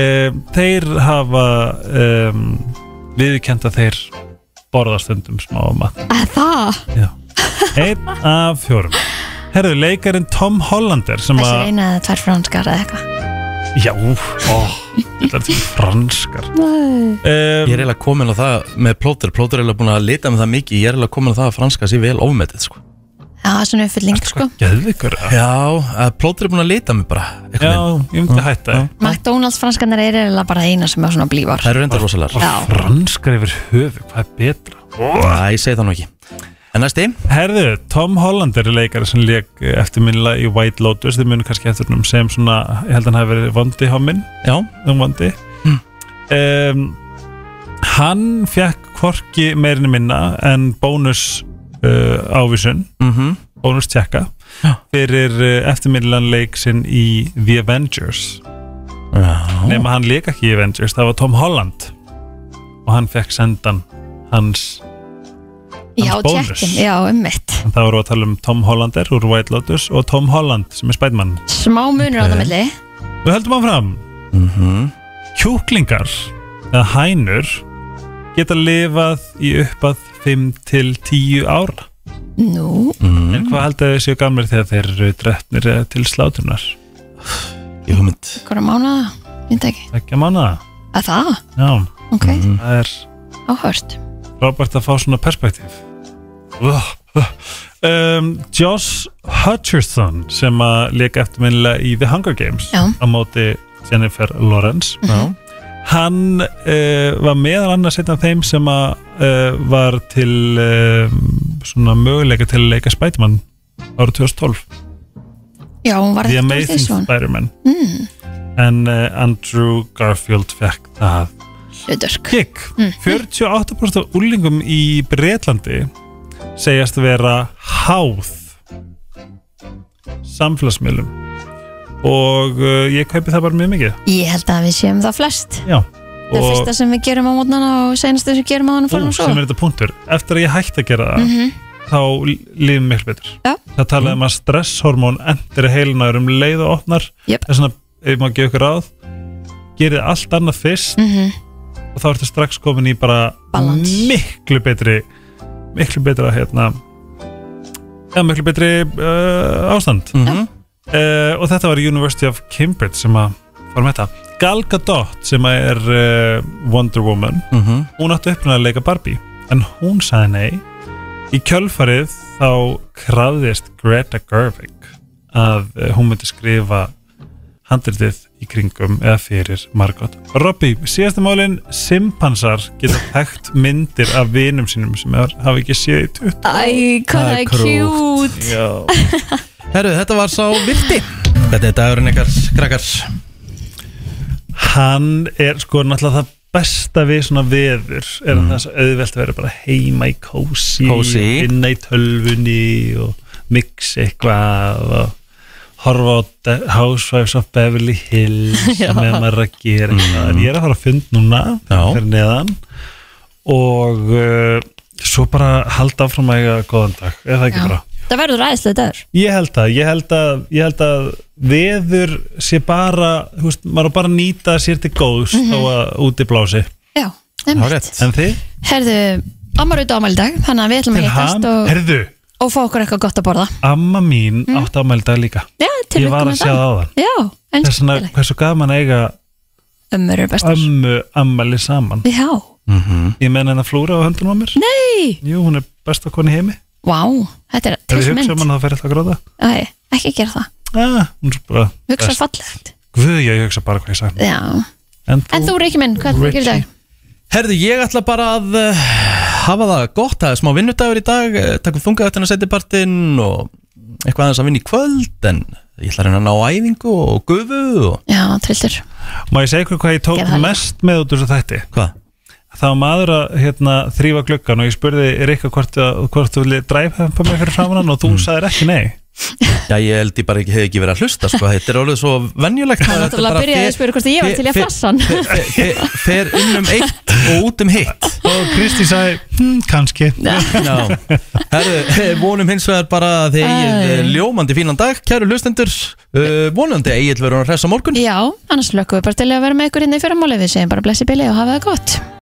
S3: um, þeir hafa um, viðkend að þeir borða stundum smá mat
S2: Að Það,
S3: einn af fjórum herðu, leikarinn Tom Hollander sem
S2: þessi
S3: að
S2: eina eða tvær franskar eða eitthvað
S3: já, ó, þetta er til franskar
S2: Nei.
S3: ég
S1: er eiginlega komin á það með plóter plóter er eiginlega búin að lita með það mikið ég er eiginlega komin á það að franska sé vel ofmetið sko.
S2: Já, það er svona uppfylling sko
S3: Geðvikur
S1: Já, plóter er búin að lita mig bara Já,
S3: ég myndi hætta
S2: McDonalds franskarnar eru eiginlega bara eina sem er svona blívar
S1: Það eru reyndar rosalega
S2: Já.
S3: franskar yfir höfu, hvað er betra?
S1: Næ, ég segi það nú ekki En næsti?
S3: Herðu, Tom Hollander er leikari sem leik eftirminnilega í White Lotus þið munum kannski eftir hennum sem svona ég held að hann hafi verið vondi hommin
S1: Já Mm.
S3: um vondi um, Hann fekk hvorki meirinu minna en bónus uh, ávísun
S1: Mhm.
S3: bónus tjekka fyrir uh, eftirminnilegan leik sinn í The Avengers
S1: Já.
S3: nema hann leik ekki í Avengers það var Tom Holland og hann fekk sendan hans
S2: Já,
S3: hans bónus.
S2: tjekkin, já, ummitt
S3: En Það voru að tala um Tom Hollander úr White Lotus og Tom Holland sem er Spiderman
S2: Smá munur á það
S3: Ok.
S2: milli
S3: Við höldum áfram mm -hmm. Kjúklingar eða hænur geta lifað í uppað 5 til 10 ára
S2: Nú,
S3: En hvað haldið þau séu gamlir þegar þeir eru drefnir eða til sláturnar?
S1: Ég hugmynd
S2: hverja mánuða, myndi ekki
S3: Ekki að mána
S2: Að það,
S3: Já,
S2: ok,
S3: það er
S2: áhört
S3: Robert að fá svona perspektíf um, Josh Hutcherson sem að leika eftirminnilega í The Hunger Games
S2: Já.
S3: á móti Jennifer Lawrence
S1: Já.
S3: hann uh, var meðal annars einn af þeim sem að uh, var til eh, um, svona möguleika til að leika Spiderman árið 2012
S2: Já, hún var
S3: The
S2: ekkert úr
S3: Amazing
S2: þessu, hún.
S3: Spider-Man
S2: Mm.
S3: en uh, Andrew Garfield fekk það
S2: hlutverk
S3: Gikk, 48% af úlingum í Breitlandi segjast vera háð samfélagsmiðlum og uh, ég kaupi það bara mjög mikið
S2: Ég held að við séum það flest
S3: Já
S2: Það fyrsta sem við gerum á mótnana og senastu sem við gerum á hann
S3: Ú,
S2: fórum svo
S3: sem er þetta punktur Eftir að ég hætti að gera það
S2: Mhm.
S3: þá lífum miklu betur
S2: Já.
S3: Það talaði um að stresshormón endur heilunar um leið og opnar
S2: Jöp.
S3: Þess vegna, ef maður gefur ykkur ráð gerið allt annað fyrst
S2: Mhm.
S3: og þá ertu strax komin í bara
S2: Balance.
S3: miklu betri miklu betra hérna eða miklu betri uh, ástand
S2: Mhm.
S3: uh, og þetta var University of Cambridge sem að fór með þetta Gal Gadot sem að er uh, Wonder Woman
S13: Mhm.
S3: hún átti upprunalega að leika Barbie en hún sagði nei í kjölfarið þá krafðist Greta Gerwig að uh, hún myndi skrifa handritið í kringum eða fyrir Margot Robby, síðasta málin simpansar geta hægt myndir af vinum sínum sem er, hafa ekki séð í 20
S2: Æ, hvað það er kjút
S1: Herru, þetta var sá vilti Þetta er dagurinn ykkar, krakkar
S3: Hann er sko náttúrulega það besta við svona veður er mm.
S1: Mm.
S3: þess að auðvelt að vera bara heima í kósi
S1: Kósí.
S3: inna í tölvunni og mixa eitthvað og horfa á De- Housewives of Beverly Hills
S1: Já.
S3: með maður að gera eitthvað en ég er að fara að fund núna fyrir neðan og uh, svo bara halda áfram að eiga góðan dag, er það ekki
S2: Já.
S3: bara?
S2: Það verður ræðislega dagur
S3: Ég held það, ég held að, ég held að veður sé bara, þú veist, maður á bara að nýta sér til góðs mm
S2: Mhm.
S3: þó að úti blási.
S2: Já, um.
S3: En þið?
S2: herðu, ammar út ámæli dag þannig að við ætlum að
S3: Til ham?
S2: hittast og, Mhm.
S3: Herðu,
S2: og fá okkur eitthvað gott að borða
S3: amma mín mm. átti ámæli dag líka.
S2: Já, til
S3: Ég
S2: lukku
S3: var að
S2: með
S3: sjá það á það.
S2: Já, en
S3: Þess vegna, hversu gaman að eiga
S2: ömmur eru bestar
S3: ömmu ammæli saman.
S2: Já,
S3: Mm -hmm. Ég menna hennar flúra á höndunum á mér.
S2: nei,
S3: Jú, hún er besta koni í heimi.
S2: vá, þetta er
S3: Ef
S2: til
S3: ég hugsa um
S2: mynd
S3: hann þá fer alltaf að gráta.
S2: Æ, ekki gera það
S3: ah, Hún er bara
S2: Hugsa
S3: best.
S2: fallegt
S3: Guð, já, ég hugsa bara hvað ég sagði.
S2: Já,
S3: En
S2: en þú Ríkki minn, hvað er það að gera í dag?
S1: Herðu, ég ætla bara að uh, hafa það gott, það er smá vinnudagur í dag uh, takum þungað eftir að setja partinn og eitthvað aðeins að vinna í kvöld en ég ætla að reyna að ná æfingu og gufu og...
S2: Já, trillur
S3: Má ég segja ykkur hvað ég tók
S2: Gerðu það líka.
S3: mest með út úr þessu þætti?
S1: Hvað?
S3: Það var maður að hérna, þrýfa gluggan og ég spurði Rikka hvort, að- hvort þú viljið dræfhempa mig fyrir framan hann og þú sagðir ekki nei.
S1: Já, ég held ég bara ekki, hef ekki verið að hlusta sko. þetta er alveg svo venjulegt
S2: Það er náttúrulega að byrja að spyrja hvort ég var til í að flassa
S3: *laughs*
S2: hann
S1: flassan Fer inn um eitt og út um hitt
S3: Og Kristi sagði, hm, kannski.
S1: Já, herru, eh, vonum hins vegar bara að þið eigið eh, ljómandi fínan dag, kæru hlustendur uh, vonandi að eigið verður að hressa morgun
S2: Já, annars lökum við bara til að vera með ykkur hérna í fyrramáli Við segjum bara blessi bili og hafa það gott